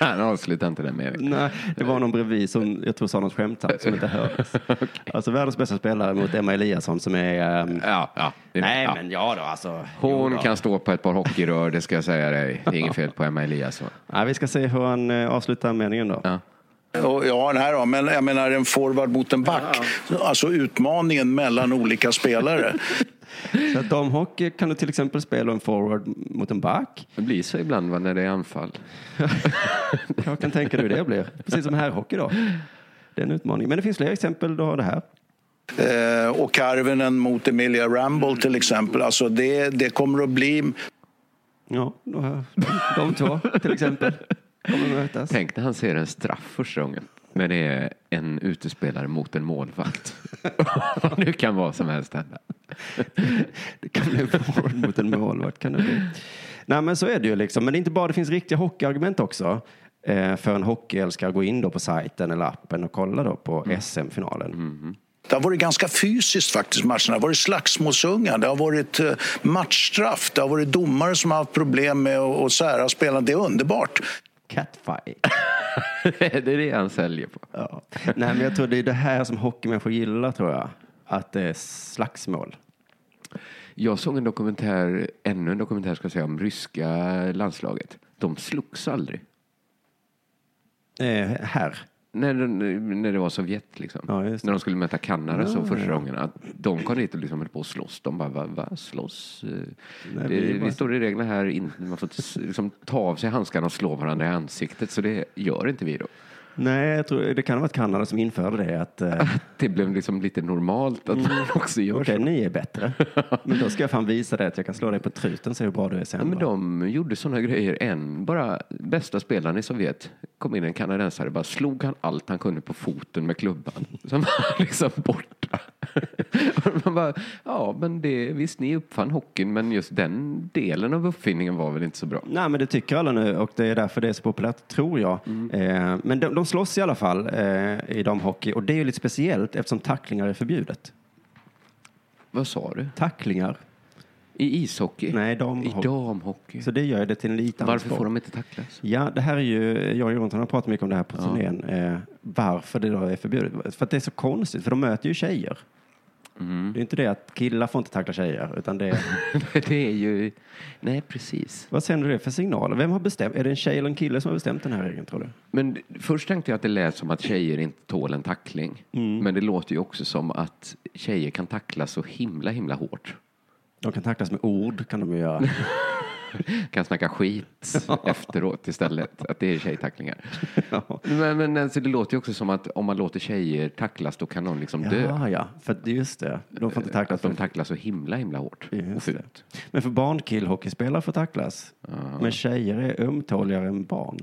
Speaker 4: Han avslutar inte den meningen.
Speaker 3: Nej, det var någon bredvid som jag tror sa något skämtsamt som inte hördes. Alltså världens bästa spelare mot Emma Eliasson som är... ehm,
Speaker 4: Ja, ja. Äh, Det-
Speaker 3: Nej,
Speaker 4: ja.
Speaker 3: men ja då alltså.
Speaker 4: Hon
Speaker 3: Jo då.
Speaker 4: kan stå på ett par hockeyrör, det ska jag säga dig. Det är inget fel på Emma Eliasson.
Speaker 3: Nej, vi ska se hur han eh, avslutar meningen då.
Speaker 4: Ja.
Speaker 6: Och, ja, den här då, men jag menar en forward mot en back. Alltså utmaningen mellan olika spelare.
Speaker 3: Så att damhockey kan du till exempel spela en forward mot en back.
Speaker 4: Det blir så ibland va, när det är anfall.
Speaker 3: Jag kan tänka dig hur det blir. Precis som herrhockey då. Det är en utmaning. Men det finns fler exempel. Du har det här.
Speaker 6: Eh, och Karvinen mot Emilia Ramble till exempel. Alltså det, det kommer att bli...
Speaker 3: Ja, då har jag. de två till exempel. Kommer mötas.
Speaker 4: Tänk när han ser en straff första gången. Men det är en utespelare mot en målvakt. nu kan vad som helst hända.
Speaker 3: Det kan bli en forward mot en målvakt. Kan det bli. Nej, men så är det ju liksom. Men det är inte bara det finns riktiga hockeyargument också. Eh, för en hockeyälskare att gå in då på sajten eller appen och kolla då på SM-finalen.
Speaker 6: Det har varit ganska fysiskt faktiskt matcherna. Det har varit slagsmålsungar, det har varit eh, matchstraff, det har varit domare som har haft problem med att att sära spelarna. Det är underbart.
Speaker 3: Catfight.
Speaker 4: det är det han säljer på.
Speaker 3: Ja. Nej, men jag tror det är det här som hockeymänniskor gillar tror jag. Att det är slagsmål.
Speaker 4: Jag såg en dokumentär, ännu en dokumentär ska jag säga, om ryska landslaget. De slogs aldrig.
Speaker 3: Eh, här.
Speaker 4: När, när det var Sovjet liksom.
Speaker 3: Ja, just det.
Speaker 4: när de skulle möta Kanada så första gången. Att de kom dit och liksom höll på att slåss. De bara, va, va slåss? Eh, det,
Speaker 3: vi
Speaker 4: vi
Speaker 3: bara-
Speaker 4: står i reglerna här, in, man får inte s- liksom, ta av sig handskarna och slå varandra i ansiktet. Så det gör inte vi då.
Speaker 3: Nej, jag tror, det kan ha varit Kanada som införde det. Att, eh,
Speaker 4: Det blev liksom lite normalt
Speaker 3: Mm.
Speaker 4: att man också gör
Speaker 3: Okej,
Speaker 4: så.
Speaker 3: ni är bättre. Men då ska jag fan visa dig att jag kan slå dig på truten och se hur bra du är sen.
Speaker 4: Ja, men
Speaker 3: va?
Speaker 4: de gjorde sådana grejer än. Bara bästa spelaren i Sovjet kom in en kanadensare bara slog han allt han kunde på foten med klubban. Sen var han liksom borta. Och Man bara, ja men det, visst ni uppfann hockeyn men just den delen av uppfinningen var väl inte så bra.
Speaker 3: Nej, men det tycker alla nu och det är därför det är så populärt, tror jag.
Speaker 4: Mm.
Speaker 3: Eh, men de, de slåss i alla fall eh, i damhockey och det är ju lite speciellt eftersom tacklingar är förbjudet.
Speaker 4: Vad sa du?
Speaker 3: Tacklingar
Speaker 4: I ishockey?
Speaker 3: Nej, damhockey.
Speaker 4: I damhockey.
Speaker 3: Så det gör ju det till en liten
Speaker 4: Varför
Speaker 3: sport.
Speaker 4: får de inte tacklas?
Speaker 3: Ja, det här är ju, jag och Jonathan har pratat mycket om det här på turnén, eh, varför det då är förbjudet. För att det är så konstigt, för de möter ju tjejer.
Speaker 4: Mm.
Speaker 3: Det är inte det att killar får inte tackla tjejer, utan det är,
Speaker 4: det är ju... Nej, precis.
Speaker 3: vad sänder det för signaler? Vem har bestämt, är det en tjej eller en kille som har bestämt den här regeln tror du?
Speaker 4: Men först tänkte jag att det lät som att tjejer inte tål en tackling.
Speaker 3: Mm.
Speaker 4: Men det låter ju också som att tjejer kan tacklas så himla, himla hårt.
Speaker 3: De kan tacklas med ord, kan de ju göra.
Speaker 4: Kan snacka skit efteråt istället. Att det är tjejtacklingar.
Speaker 3: Ja.
Speaker 4: Men, men alltså, det låter ju också som att om man låter tjejer tacklas då kan någon liksom dö.
Speaker 3: Ja, ja, för det är just det. De får inte
Speaker 4: Att
Speaker 3: tacklas.
Speaker 4: de
Speaker 3: De
Speaker 4: tacklas så himla, himla hårt. Och
Speaker 3: Just det.
Speaker 4: fult.
Speaker 3: Men för barn killhockeyspelare får tacklas. Men tjejer är ömtåligare än barn.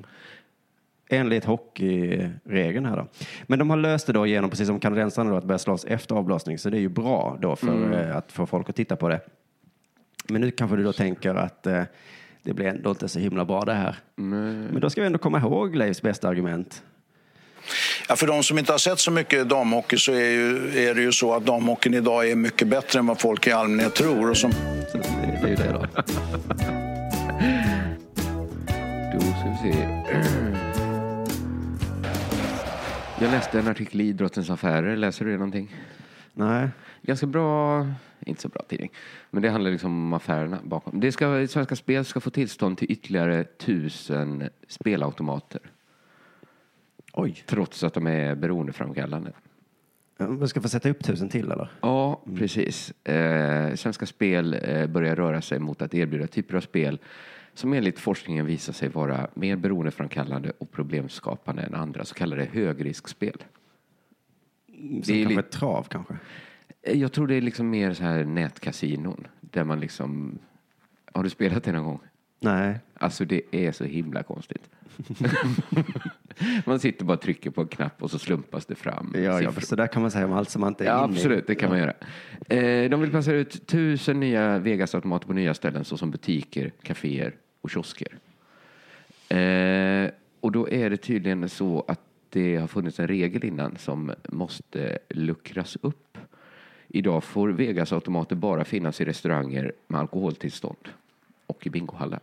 Speaker 3: Enligt hockeyregeln här då. Men de har löst det då genom, precis som kanadensarna då, att börja slåss efter avblåsning. Så det är ju bra då för eh, att få folk att titta på det. Men nu kanske du då tänker att eh, det blir ändå inte så himla bra det här. Men då ska vi ändå komma ihåg Leifs bästa argument.
Speaker 6: Ja, för de som inte har sett så mycket damhockey så är, ju, är det ju så att damhockeyn idag är mycket bättre än vad folk i allmänhet tror. Och som
Speaker 3: Så det, det är ju det då.
Speaker 4: Då ska vi se. Jag läste en artikel i Idrottens Affärer. Läser du det någonting?
Speaker 3: Nej.
Speaker 4: Ganska bra, inte så bra tidning. Men det handlar liksom om affärerna bakom. Det ska, Svenska Spel ska få tillstånd till ytterligare tusen spelautomater.
Speaker 3: Oj.
Speaker 4: Trots att de är beroendeframkallande.
Speaker 3: Vi ska få sätta upp tusen till eller?
Speaker 4: Ja, precis. Mm. Eh, Svenska Spel eh, börjar röra sig mot att erbjuda typer av spel som enligt forskningen visar sig vara mer beroendeframkallande och problemskapande än andra så kallade högriskspel.
Speaker 3: Det är
Speaker 4: lite-
Speaker 3: kanske ett trav kanske?
Speaker 4: Eh, Jag tror det är liksom mer så här nätkasinon där man liksom... Har du spelat det någon gång?
Speaker 3: Nej.
Speaker 4: Alltså det är så himla konstigt. man sitter bara och trycker på en knapp och så slumpas det fram
Speaker 3: Ja, ja
Speaker 4: siffror.
Speaker 3: så där kan man säga om allt som man inte är
Speaker 4: Ja,
Speaker 3: inne i.
Speaker 4: absolut, det kan man göra. Eh, de vill placera ut tusen nya Vegas-automater på nya ställen såsom butiker, kaféer och kiosker. Eh, och då är det tydligen så att det har funnits en regel innan som måste luckras upp. Idag får Vegas-automater bara finnas i restauranger med alkoholtillstånd och i bingohallar.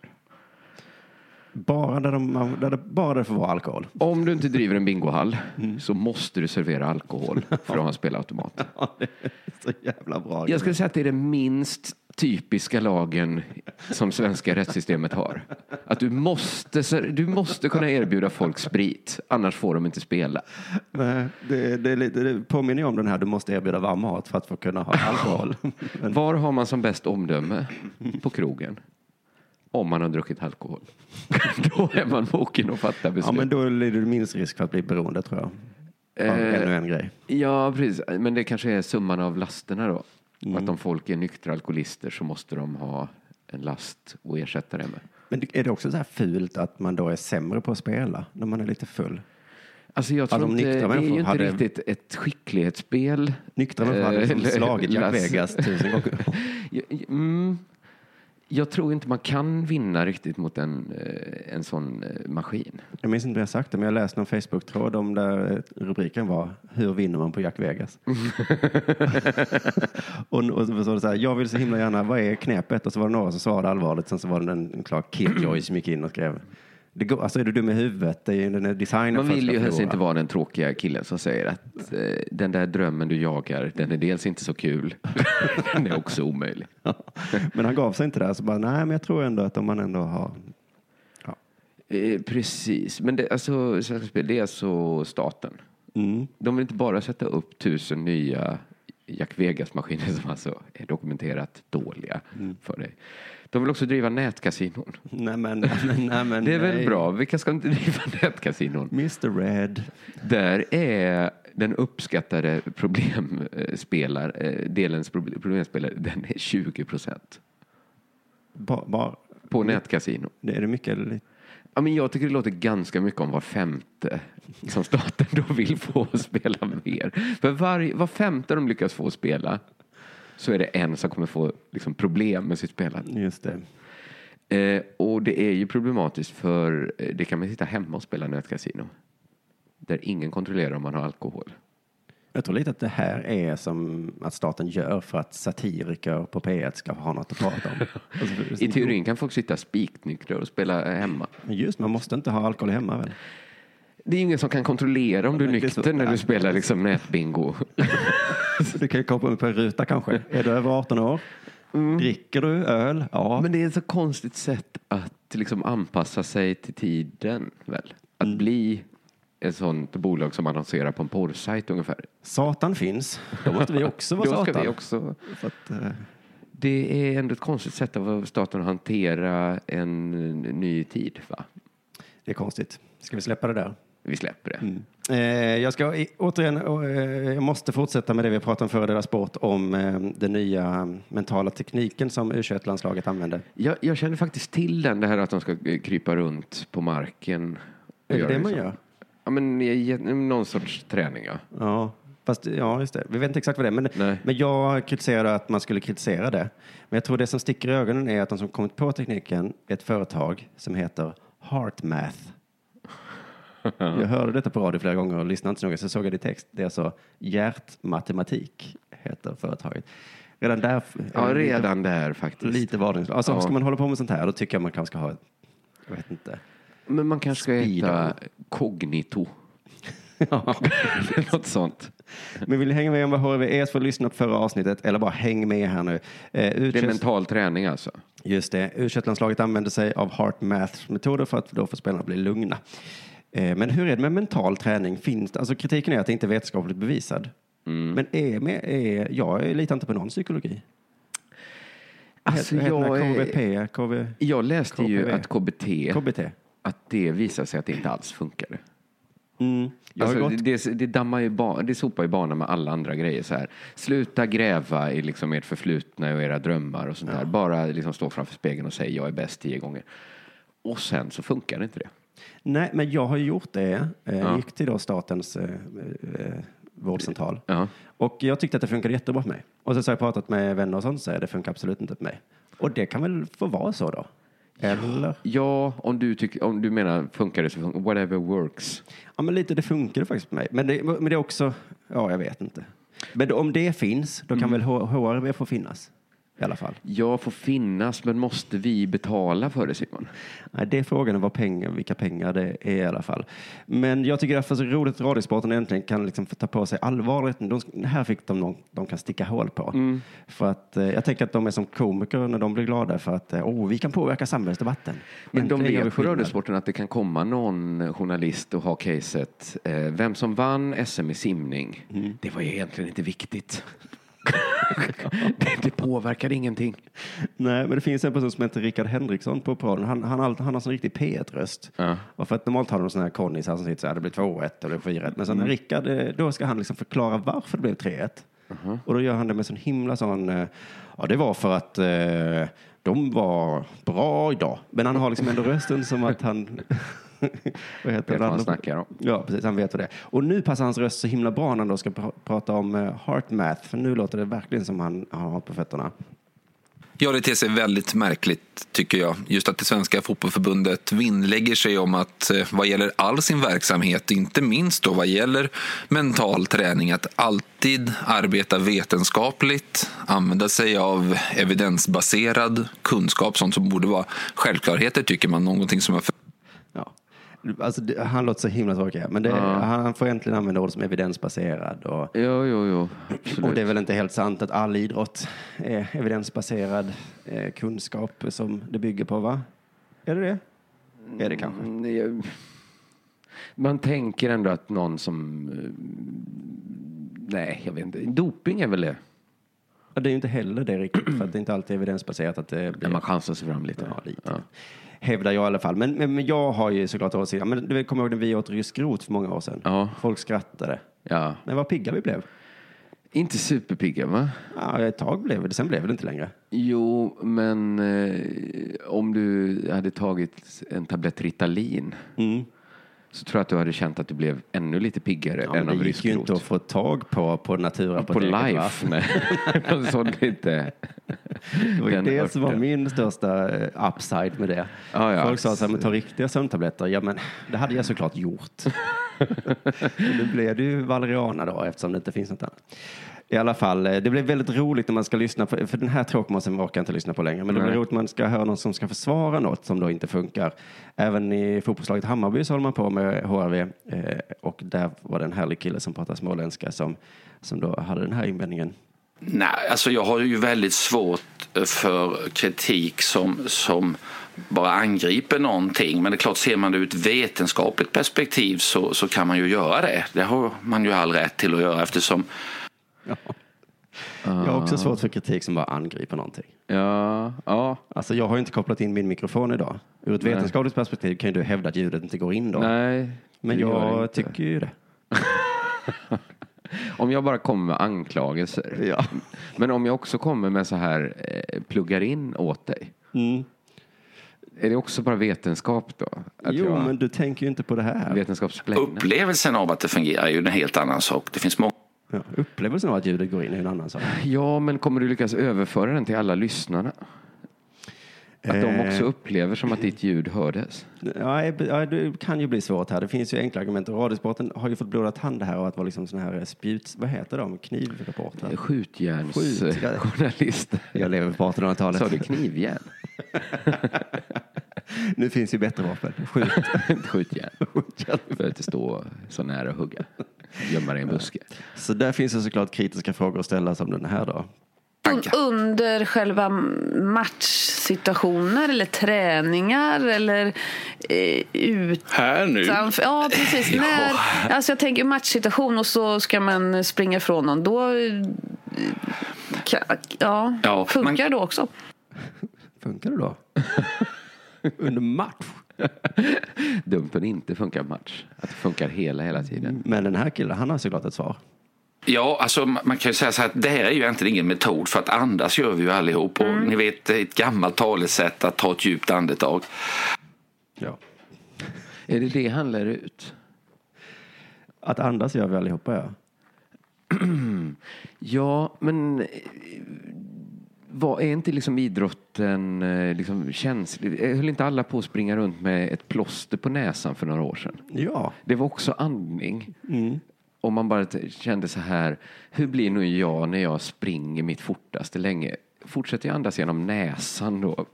Speaker 3: Bara där, de, man- där det, bara där det får vara alkohol.
Speaker 4: Om du inte driver en bingohall
Speaker 3: Mm.
Speaker 4: så måste du servera alkohol för att ha en spelautomat.
Speaker 3: Ja, det är så jävla bra.
Speaker 4: Jag skulle säga att det är den minst typiska lagen som svenska rättssystemet har. Att du måste, du måste kunna erbjuda folk sprit, annars får de inte spela.
Speaker 3: Nej, det, det, är lite- det påminner ju om den här, du måste erbjuda varm mat för att få kunna ha alkohol. Men
Speaker 4: Var har man som bäst omdöme på krogen? Om man har druckit alkohol. Då är man mogen att fatta
Speaker 3: ja,
Speaker 4: beslut.
Speaker 3: men då lider du minst risk för att bli beroende tror jag. Av
Speaker 4: Eh.
Speaker 3: Ännu en grej.
Speaker 4: Ja, precis. Men det kanske är summan av lasterna då.
Speaker 3: Mm.
Speaker 4: Att om folk är nyktra alkoholister så måste de ha en last att ersätta det med.
Speaker 3: Men är det också så här fult att man då är sämre på att spela när man är lite full?
Speaker 4: Alltså jag
Speaker 3: Alltså,
Speaker 4: tror
Speaker 3: om
Speaker 4: inte, det
Speaker 3: nyktra
Speaker 4: är
Speaker 3: människor
Speaker 4: ju inte
Speaker 3: hade-
Speaker 4: riktigt ett skicklighetsspel.
Speaker 3: Nyktra människor hade liksom
Speaker 4: Eh,
Speaker 3: slagit Jack
Speaker 4: Lasse.
Speaker 3: Vegas tusen gånger.
Speaker 4: Jag- mm, jag tror inte man kan vinna riktigt mot en, eh, en sån eh, maskin.
Speaker 3: Jag minns inte vad jag sagt det, men jag läste någon Facebook-tråd om där rubriken var Hur vinner man på Jack Vegas? och, och så var det så här, jag vill så himla gärna, vad är knepet? Och så var det några som svarade allvarligt, sen så var det en, en klar killjoy som gick in och skrev det går, alltså är du dum i huvudet? Det är ju den är designad
Speaker 4: Man
Speaker 3: för att
Speaker 4: vill
Speaker 3: ska
Speaker 4: ju helst
Speaker 3: förlora."
Speaker 4: inte vara den tråkiga killen som säger att eh, den där drömmen du jagar, den är dels inte så kul, den är också omöjlig.
Speaker 3: men han gav sig inte där, så bara nej, men jag tror ändå att om man ändå har...
Speaker 4: Eh, precis, men det, alltså, Svenska Spel, det är alltså staten.
Speaker 3: Mm.
Speaker 4: De vill inte bara sätta upp tusen nya Jack Vegas-maskiner som alltså är dokumenterat dåliga
Speaker 3: Mm.
Speaker 4: för dig. De vill också driva nätkasinon.
Speaker 3: Nej men, nej, men, nej, men
Speaker 4: Det är väl
Speaker 3: nej.
Speaker 4: bra, vilka ska inte driva nätkasinon?
Speaker 3: Mr Red.
Speaker 4: Där är den uppskattade problemspelar, eh, delens proble- problemspelare, den är 20 procent
Speaker 3: Ba, ba,
Speaker 4: på nätkasino.
Speaker 3: är det mycket eller lite?
Speaker 4: Ja, men jag tycker det låter ganska mycket om var femte som staten då vill få att spela mer. För var, var femte de lyckas få att spela så är det en som kommer få liksom, problem med sitt spelande.
Speaker 3: Just det.
Speaker 4: Eh, och det är ju problematiskt för eh, det kan man sitta hemma och spela nätkasino. Där ingen kontrollerar om man har alkohol.
Speaker 3: Jag tror lite att det här är som att staten gör för att satiriker på P1 ska ha något att prata om. Alltså,
Speaker 4: I teorin kan folk sitta spiknyktra och spela hemma.
Speaker 3: Men just man måste inte ha alkohol hemma väl?
Speaker 4: Det är ingen som kan kontrollera om du är
Speaker 3: Det är så-
Speaker 4: nykter när du
Speaker 3: Nej.
Speaker 4: spelar liksom nätbingo.
Speaker 3: Du kan ju komma upp på en ruta kanske. Är du över 18 år? Mm. Dricker du öl? Ja.
Speaker 4: Men det är ett så konstigt sätt att liksom anpassa sig till tiden väl? Att
Speaker 3: Mm.
Speaker 4: bli ett sånt bolag som annonserar på en porrsajt ungefär.
Speaker 3: Satan finns. Då måste vi också vara
Speaker 4: Då
Speaker 3: satan.
Speaker 4: ska vi också.
Speaker 3: Så att, eh,
Speaker 4: Det är ändå ett konstigt sätt av staten att hantera en ny tid va?
Speaker 3: det är konstigt. Ska vi släppa det där?
Speaker 4: Vi släpper det.
Speaker 3: Eh, jag ska i- återigen, eh, jag måste fortsätta med det vi pratade om före deras sport om eh, den nya mentala tekniken som U21-landslaget använder.
Speaker 4: Jag, jag känner faktiskt till den, det här att de ska eh, krypa runt på marken. och
Speaker 3: Är det
Speaker 4: göra
Speaker 3: det man
Speaker 4: så.
Speaker 3: gör?
Speaker 4: Ja, men i- i- någon sorts träning ja.
Speaker 3: Ja, fast, ja, just det. Vi vet inte exakt vad det är. Men,
Speaker 4: Nej.
Speaker 3: men jag kritiserade att man skulle kritisera det. Men jag tror det som sticker i ögonen är att de som kommit på tekniken är ett företag som heter HeartMath. Jag hörde detta på radio flera gånger och lyssnade inte så noga, så såg jag det i text. Det är alltså Hjärtmatematik, heter företaget. Redan där...
Speaker 4: Ja, redan där faktiskt.
Speaker 3: Lite varningslag. Alltså,
Speaker 4: Ja.
Speaker 3: Ska man hålla på med sånt här, då tycker jag man kanske ska ha... ett- Jag vet inte.
Speaker 4: Men man kanske ska
Speaker 3: Speed.
Speaker 4: heta Cognito.
Speaker 3: Ja.
Speaker 4: Något sånt.
Speaker 3: Men vill ni hänga med om vad HIV är så E får ni lyssna på förra avsnittet eller bara häng med här nu. Eh,
Speaker 4: Det är
Speaker 3: U21
Speaker 4: mental träning alltså.
Speaker 3: Just det. u landslaget använder sig av heart math metoder för att då få spelarna att bli lugna. Eh, Men hur är det med mental träning? Finns, alltså kritiken är att det inte är vetenskapligt bevisad.
Speaker 4: Mm.
Speaker 3: Men är med, är, jag litar inte på någon psykologi.
Speaker 4: Alltså,
Speaker 3: Vad heter den här?
Speaker 4: jag,
Speaker 3: KVP,
Speaker 4: är-
Speaker 3: KV,
Speaker 4: jag läste ju
Speaker 3: KBV.
Speaker 4: att KBT,
Speaker 3: KBT.
Speaker 4: att det visar sig att det inte alls funkar.
Speaker 3: Mm. Jag har
Speaker 4: Alltså,
Speaker 3: gått,
Speaker 4: det, det, dammar ju ba, det sopar ju banan med alla andra grejer. Så här. Sluta gräva i liksom ert förflutna och era drömmar och sånt där. Bara liksom stå framför spegeln och säga jag är bäst tio gånger. Och sen så funkar det inte det.
Speaker 3: nej, men jag har gjort det. Eh, Gick till då statens eh, eh, vårdcentral.
Speaker 4: Ja.
Speaker 3: Och jag tyckte att det funkade jättebra för mig. Och sen så har jag pratat med vänner och sånt och säger det funkar absolut inte för mig. Och det kan väl få vara så då? Eller?
Speaker 4: Ja, om du, tycker, om du menar funkar det så funkar Whatever works.
Speaker 3: Ja, men lite det funkade faktiskt på mig. Men det, men det är också, ja, jag vet inte. Men då- om det finns, då kan
Speaker 4: Mm.
Speaker 3: väl H- HRV få finnas i alla fall.
Speaker 4: Jag får finnas, men måste vi betala för det Simon?
Speaker 3: Nej, det är frågan om vad pengar, vilka pengar det är i alla fall. Men jag tycker därför så roligt att Radiosporten äntligen kan liksom få ta på sig allvaret. De, här fick de någon de kan sticka hål på.
Speaker 4: Mm.
Speaker 3: För att eh, jag tänker att de är som komiker när de blir glada för att eh, oh, vi kan påverka samhällsdebatten.
Speaker 4: Men de
Speaker 3: Äntligen gör vi
Speaker 4: vet på
Speaker 3: skillnad.
Speaker 4: radiosporten att det kan komma någon journalist och ha caset. Eh, vem som vann SM i simning, det var ju egentligen inte viktigt. det, det påverkade ingenting.
Speaker 3: Nej, men det finns en person som heter Rickard Henriksson på podden. Han, han, har- han har sån riktig P1-röst.
Speaker 4: Ja.
Speaker 3: Och för att normalt har de såna här konnisar som sitter så här, det blir 2-1 eller 4-1. Men sen
Speaker 4: Mm.
Speaker 3: när Rickard, eh, då ska han liksom förklara varför det blev 3-1.
Speaker 4: Uh-huh.
Speaker 3: Och då gör han det med sån himla sån, eh, ja det var för att eh, de var bra idag. Men han har liksom ändå rösten som att han... vad heter
Speaker 4: vad han
Speaker 3: andra?
Speaker 4: snackar om.
Speaker 3: Ja, precis. Han vet vad det är. Och nu passar hans röst så himla bra när han då ska pr- prata om eh, heart math. För nu låter det verkligen som han han har på fötterna.
Speaker 7: Ja, det ter sig väldigt märkligt tycker jag. Just att det svenska fotbollförbundet vinnlägger sig om att eh, vad gäller all sin verksamhet, inte minst då vad gäller mental träning, att alltid arbeta vetenskapligt, använda sig av evidensbaserad kunskap, sånt som borde vara självklarheter tycker man, någonting som har
Speaker 3: Ja. Alltså, det, han låter så himla tråkig. Men det, han får äntligen använda ord som evidensbaserad. Och,
Speaker 4: Jo, jo, jo.
Speaker 3: och
Speaker 4: Absolut.
Speaker 3: det är väl inte helt sant att all idrott är evidensbaserad eh, kunskap som det bygger på, va? Är det det? Är det kanske?
Speaker 4: Mm, det är- Man tänker ändå att någon som... eh, Nej, jag vet inte. Doping är väl det?
Speaker 3: Ja, Det är ju inte heller det riktigt, för att det är inte alltid evidensbaserat att det blir...
Speaker 4: När man chansar sig fram lite.
Speaker 3: Ja, lite.
Speaker 4: Typ. Ja.
Speaker 3: Hävdar jag i alla fall. Men, men, men jag har ju såklart åsikt. Men du vet, kommer ihåg när vi åt rysk rot för många år sedan?
Speaker 4: Ja.
Speaker 3: Folk skrattade.
Speaker 4: ja.
Speaker 3: Men vad pigga vi blev.
Speaker 4: Inte superpigga, va?
Speaker 3: Ja, ett tag blev vi det, sen blev vi det inte längre.
Speaker 4: Jo, men eh, om du hade tagit en tablett Ritalin
Speaker 3: Mm.
Speaker 4: så tror jag att du hade känt att du blev ännu lite piggare
Speaker 3: Ja,
Speaker 4: än
Speaker 3: men
Speaker 4: av
Speaker 3: det gick
Speaker 4: rysk
Speaker 3: ju inte att
Speaker 4: rot.
Speaker 3: få tag på på
Speaker 4: På
Speaker 3: naturapoteket. va?
Speaker 4: Life, nej. Någon sån lite.
Speaker 3: Det var ju
Speaker 4: Den
Speaker 3: det som var
Speaker 4: örten.
Speaker 3: min största eh, upside med det.
Speaker 4: Ja, ja.
Speaker 3: Folk sa så här, men ta riktiga sömntabletter. Ja, men det hade jag såklart gjort. nu blev det ju valeriana då eftersom det inte finns något annat. I alla fall, eh, det blev väldigt roligt när man ska lyssna på, för den här tråkmånsen orkar jag inte lyssna på längre, men det blir
Speaker 4: Nej.
Speaker 3: roligt när man ska höra någon som ska försvara något som då inte funkar. Även i fotbollslaget Hammarby så håller man på med HRV eh, och där var det en härlig kille som pratade småländska som, som då hade den här invändningen.
Speaker 8: Nej, alltså jag har ju väldigt svårt för kritik som, som bara angriper någonting. Men det är klart, ser man det ur ett vetenskapligt perspektiv så, så kan man ju göra det. Det har man ju all rätt till att göra eftersom
Speaker 3: Jag har också svårt för kritik som bara angriper någonting.
Speaker 4: Ja, ja.
Speaker 3: Alltså jag har ju inte kopplat in min mikrofon idag. Ur ett vetenskapligt perspektiv kan ju du hävda att ljudet inte går in då.
Speaker 4: Nej.
Speaker 3: men
Speaker 4: det gör det
Speaker 3: jag
Speaker 4: inte.
Speaker 3: tycker ju det.
Speaker 4: Om jag bara kommer med anklagelser.
Speaker 3: Ja.
Speaker 4: Men om jag också kommer med så här eh, pluggar in åt dig.
Speaker 3: Mm.
Speaker 4: Är det också bara vetenskap då? Att
Speaker 3: jo,
Speaker 4: jag-
Speaker 3: men du tänker ju inte på det här.
Speaker 4: Vetenskapsplane.
Speaker 8: upplevelsen av att det fungerar är ju en helt annan sak. Det finns många
Speaker 3: Ja, upplevelsen av att ljudet går in är en annan sak.
Speaker 4: Ja, men kommer du lyckas överföra den till alla lyssnarna? Att
Speaker 3: Eh.
Speaker 4: de också upplever som att ditt ljud hördes?
Speaker 3: Ja, eh, ja, det kan ju bli svårt här. Det finns ju enkla argument. Och Radiosporten har ju fått blodad hand här av att vara liksom sån här spjut... Vad heter de? Knivreportrar? Skjut- ja.
Speaker 4: Skjutjärnsjournalister.
Speaker 3: Jag lever på 1800-talet.
Speaker 4: Sa du knivjärn?
Speaker 3: Nu finns ju bättre vapen. Skjut.
Speaker 4: Inte Skjutjärn. För att inte stå så nära och hugga. Gömma dig i en buske.
Speaker 3: Så där finns det såklart kritiska frågor att ställa som den här då.
Speaker 8: tankar.
Speaker 9: Under själva matchsituationer eller träningar eller eh, ut
Speaker 1: Här nu.
Speaker 9: Utanför- Ja, precis. När, alltså jag tänker matchsituation och så ska man springa ifrån någon. Då, eh, ka- ja,
Speaker 8: Ja,
Speaker 9: funkar
Speaker 8: man-
Speaker 9: det också?
Speaker 3: Funkar det då? Under match?
Speaker 4: Dumt om det inte funkar match. Att det funkar hela, hela tiden.
Speaker 3: Men den här killen, han har såklart ett svar.
Speaker 8: Ja, alltså man kan ju säga så här att det här är ju egentligen ingen metod för att andas gör vi ju allihop.
Speaker 9: Mm.
Speaker 8: Och ni vet, det är ett gammalt talesätt att ta ett djupt andetag.
Speaker 3: Ja.
Speaker 4: Är det det han lär ut?
Speaker 3: Att andas gör vi allihopa, ja.
Speaker 4: Ja, men eh, vad, är inte liksom idrotten eh, liksom känslig? Eh, Höll inte alla på att springa runt med ett plåster på näsan för några år sedan?
Speaker 3: Ja.
Speaker 4: Det var också andning. Om man bara t- kände så här, hur blir nu jag när jag springer mitt fortaste länge? Fortsätter jag andas genom näsan då?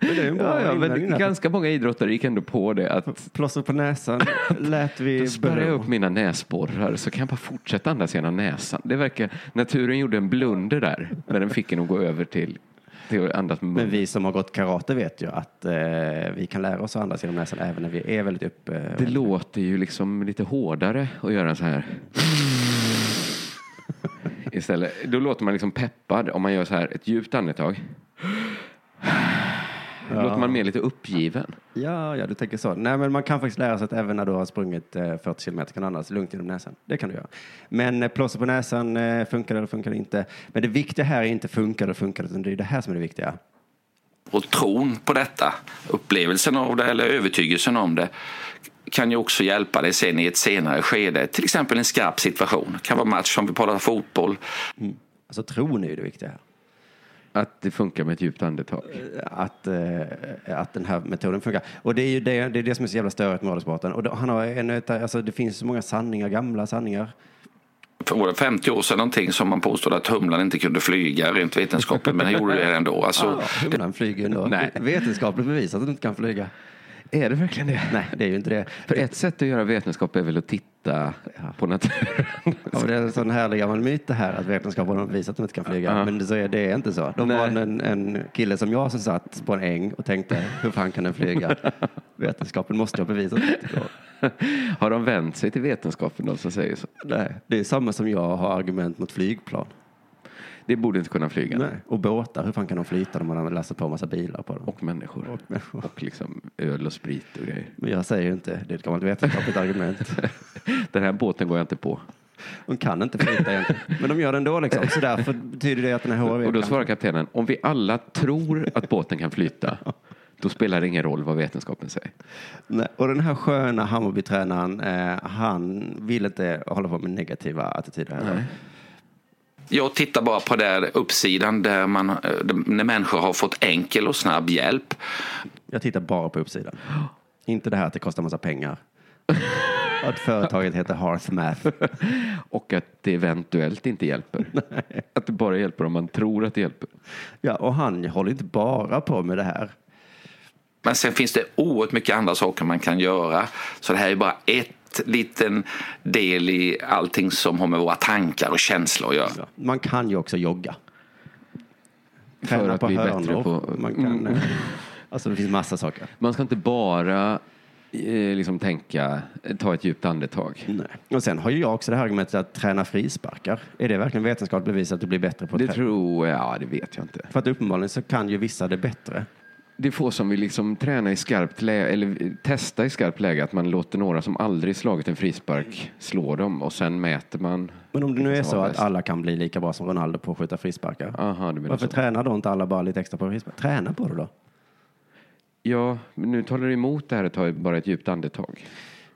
Speaker 3: Det är ju en bra
Speaker 4: Ja, ja, men
Speaker 3: invändning.
Speaker 4: ganska många idrottare gick ändå på det att
Speaker 3: Plåster på näsan lät vi
Speaker 4: Då spärrar jag
Speaker 3: bero.
Speaker 4: upp mina näsborrar så kan jag bara fortsätta andas genom näsan. Det verkar, naturen gjorde en blunder där när den fick en att gå över till, till att andas med
Speaker 3: Men
Speaker 4: munnen.
Speaker 3: vi som har gått karate vet ju att eh, vi kan lära oss att andas genom näsan även när vi är väldigt eh, uppe.
Speaker 4: Det låter ju liksom lite hårdare att göra så här. Istället, då låter man liksom peppad om man gör så här ett djupt andetag. Då låter man mer lite uppgiven.
Speaker 3: Ja, ja, du tänker så. Nej, men man kan faktiskt lära sig att även när du har sprungit eh, 40 kilometer kan du andas lugnt genom näsan. Det kan du göra. Men eh, plåster på näsan, eh, funkar det eller funkar det inte? Men det viktiga här är inte funkar det eller funkar det, utan det är det här som är det viktiga.
Speaker 8: Och tron på detta, upplevelsen av det eller övertygelsen om det kan ju också hjälpa dig sen i ett senare skede. Till exempel en skarp situation. Det kan vara match som vi pratar fotboll.
Speaker 3: Alltså tron är ju det viktiga här.
Speaker 4: Att det funkar med ett djupt andetag.
Speaker 3: att, eh, att den här metoden funkar. Och det är ju det, det, är det som är så jävla störigt med radiosporten. Och då, han har en, ett- alltså, det finns så många sanningar, gamla sanningar.
Speaker 8: För var det 50 år sedan någonting som man påstod att humlan inte kunde flyga rent vetenskapligt. Men den gjorde det ändå. Alltså,
Speaker 3: Ja, humlan flyger ju ändå.
Speaker 4: Nej.
Speaker 3: Vetenskapligt bevisat att den inte kan flyga.
Speaker 4: Är det verkligen det?
Speaker 3: Nej, det är ju inte det.
Speaker 4: För ett sätt att göra vetenskap är väl att titta på naturen.
Speaker 3: Ja, men det är en sån härlig gammal myt det här att vetenskapen har bevisat att de inte kan flyga. Men så är det inte så. Då var det en, en kille som jag som satt på en äng och tänkte hur fan kan den flyga? Vetenskapen måste ha bevisat att det inte går.
Speaker 4: Har de vänt sig till vetenskapen, de som säger så?
Speaker 3: Nej, det är samma som jag har argument mot flygplan.
Speaker 4: Det borde inte kunna flyga.
Speaker 3: Nej. Och båtar, hur fan kan de flyta när man har lastat på en massa bilar på dem?
Speaker 4: Och människor. Och,
Speaker 3: människor.
Speaker 4: liksom öl och sprit och grejer.
Speaker 3: Men jag säger ju inte, det är ett gammalt vetenskapligt argument.
Speaker 4: Den här båten går jag inte på.
Speaker 3: De kan inte flyta egentligen. Men de gör det ändå liksom. Så därför betyder det att den här HRV
Speaker 4: Och då
Speaker 3: kan-
Speaker 4: svarar kaptenen, om vi alla tror att båten kan flyta, då spelar det ingen roll vad vetenskapen säger.
Speaker 3: Nej, Och den här sköna Hammarbytränaren, eh, han vill inte hålla på med negativa attityder heller.
Speaker 8: Jag tittar bara på där uppsidan där man, eh, när människor har fått enkel och snabb hjälp.
Speaker 3: Jag tittar bara på uppsidan. Inte det här att det kostar massa pengar. att företaget heter Hearthmath.
Speaker 4: Och att det eventuellt inte hjälper. Att det bara hjälper om man tror att det hjälper.
Speaker 3: Ja, och han håller inte bara på med det här.
Speaker 8: Men sen finns det oerhört mycket andra saker man kan göra. Så det här är bara ett liten del i allting som har med våra tankar och känslor att göra.
Speaker 3: Ja. Man kan ju också jogga.
Speaker 4: För
Speaker 3: Träna
Speaker 4: att
Speaker 3: på
Speaker 4: bli bättre
Speaker 3: hörnor.
Speaker 4: på- Mm.
Speaker 3: Man kan, eh, Alltså det finns massa saker.
Speaker 4: Man ska inte bara eh, liksom tänka, eh, ta ett djupt andetag.
Speaker 3: Nej. Och sen har ju jag också det här argumentet att träna frisparkar. Är det verkligen vetenskapligt bevisat att du blir bättre på att
Speaker 4: Det
Speaker 3: trä-
Speaker 4: tror jag, ja det vet jag inte.
Speaker 3: För att uppenbarligen så kan ju vissa det bättre.
Speaker 4: Det är få som vill liksom träna i skarpt läge, eller eh, testa i skarpt läge, att man låter några som aldrig slagit en frispark slå dem och sen mäter man.
Speaker 3: Men om det nu
Speaker 4: vilken
Speaker 3: är
Speaker 4: som
Speaker 3: så
Speaker 4: var
Speaker 3: att
Speaker 4: bäst.
Speaker 3: alla kan bli lika bra som Ronaldo på att skjuta frisparkar.
Speaker 4: Aha, du menar
Speaker 3: Varför
Speaker 4: så.
Speaker 3: tränar då inte alla bara lite extra på frisparkar? Träna på det då.
Speaker 4: Ja, men nu talar du emot det här att ta bara ett djupt andetag.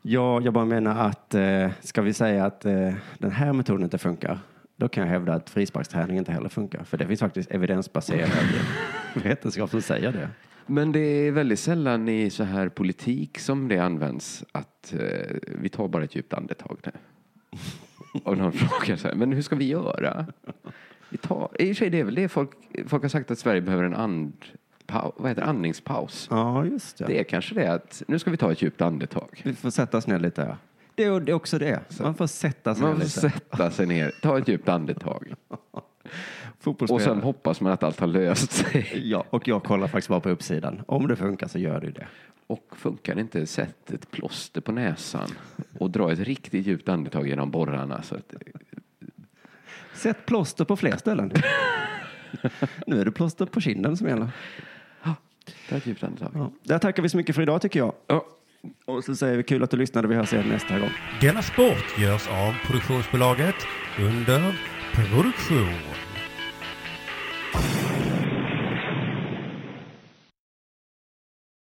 Speaker 3: Ja, jag bara menar att eh, ska vi säga att eh, den här metoden inte funkar, då kan jag hävda att frisparksträning inte heller funkar. För det finns faktiskt evidensbaserad vetenskap som säger det.
Speaker 4: Men det är väldigt sällan i så här politik som det används att eh, vi tar bara ett djupt andetag nu. Och någon frågar så här, men hur ska vi göra? Vi tar, I och för sig det är väl det folk, folk har sagt att Sverige behöver en and, pau, vad heter det, andningspaus.
Speaker 3: Ja, just
Speaker 4: Det är kanske det att nu ska vi ta ett djupt andetag.
Speaker 3: Vi får sätta oss ner lite. ja. Det är det är också det. Man får sätta sig
Speaker 4: Man
Speaker 3: ner
Speaker 4: får
Speaker 3: lite.
Speaker 4: sätta sig ner, ta ett djupt andetag och
Speaker 3: Fotbollsspelare.
Speaker 4: sen hoppas man att allt har löst sig.
Speaker 3: Ja, och jag kollar faktiskt bara på uppsidan. Om det funkar så gör det ju det.
Speaker 4: Och funkar det inte, sätt ett plåster på näsan och dra ett riktigt djupt andetag genom borrarna. Så att,
Speaker 3: Sätt plåster på fler ställen. nu är det plåster på kinden som gäller.
Speaker 4: ta ett djupt andetag.
Speaker 3: Ja. Där tackar vi så mycket för idag tycker jag. Och så säger vi kul att du lyssnade. Vi hörs igen nästa gång.
Speaker 1: Denna sport görs av produktionsbolaget under produktion.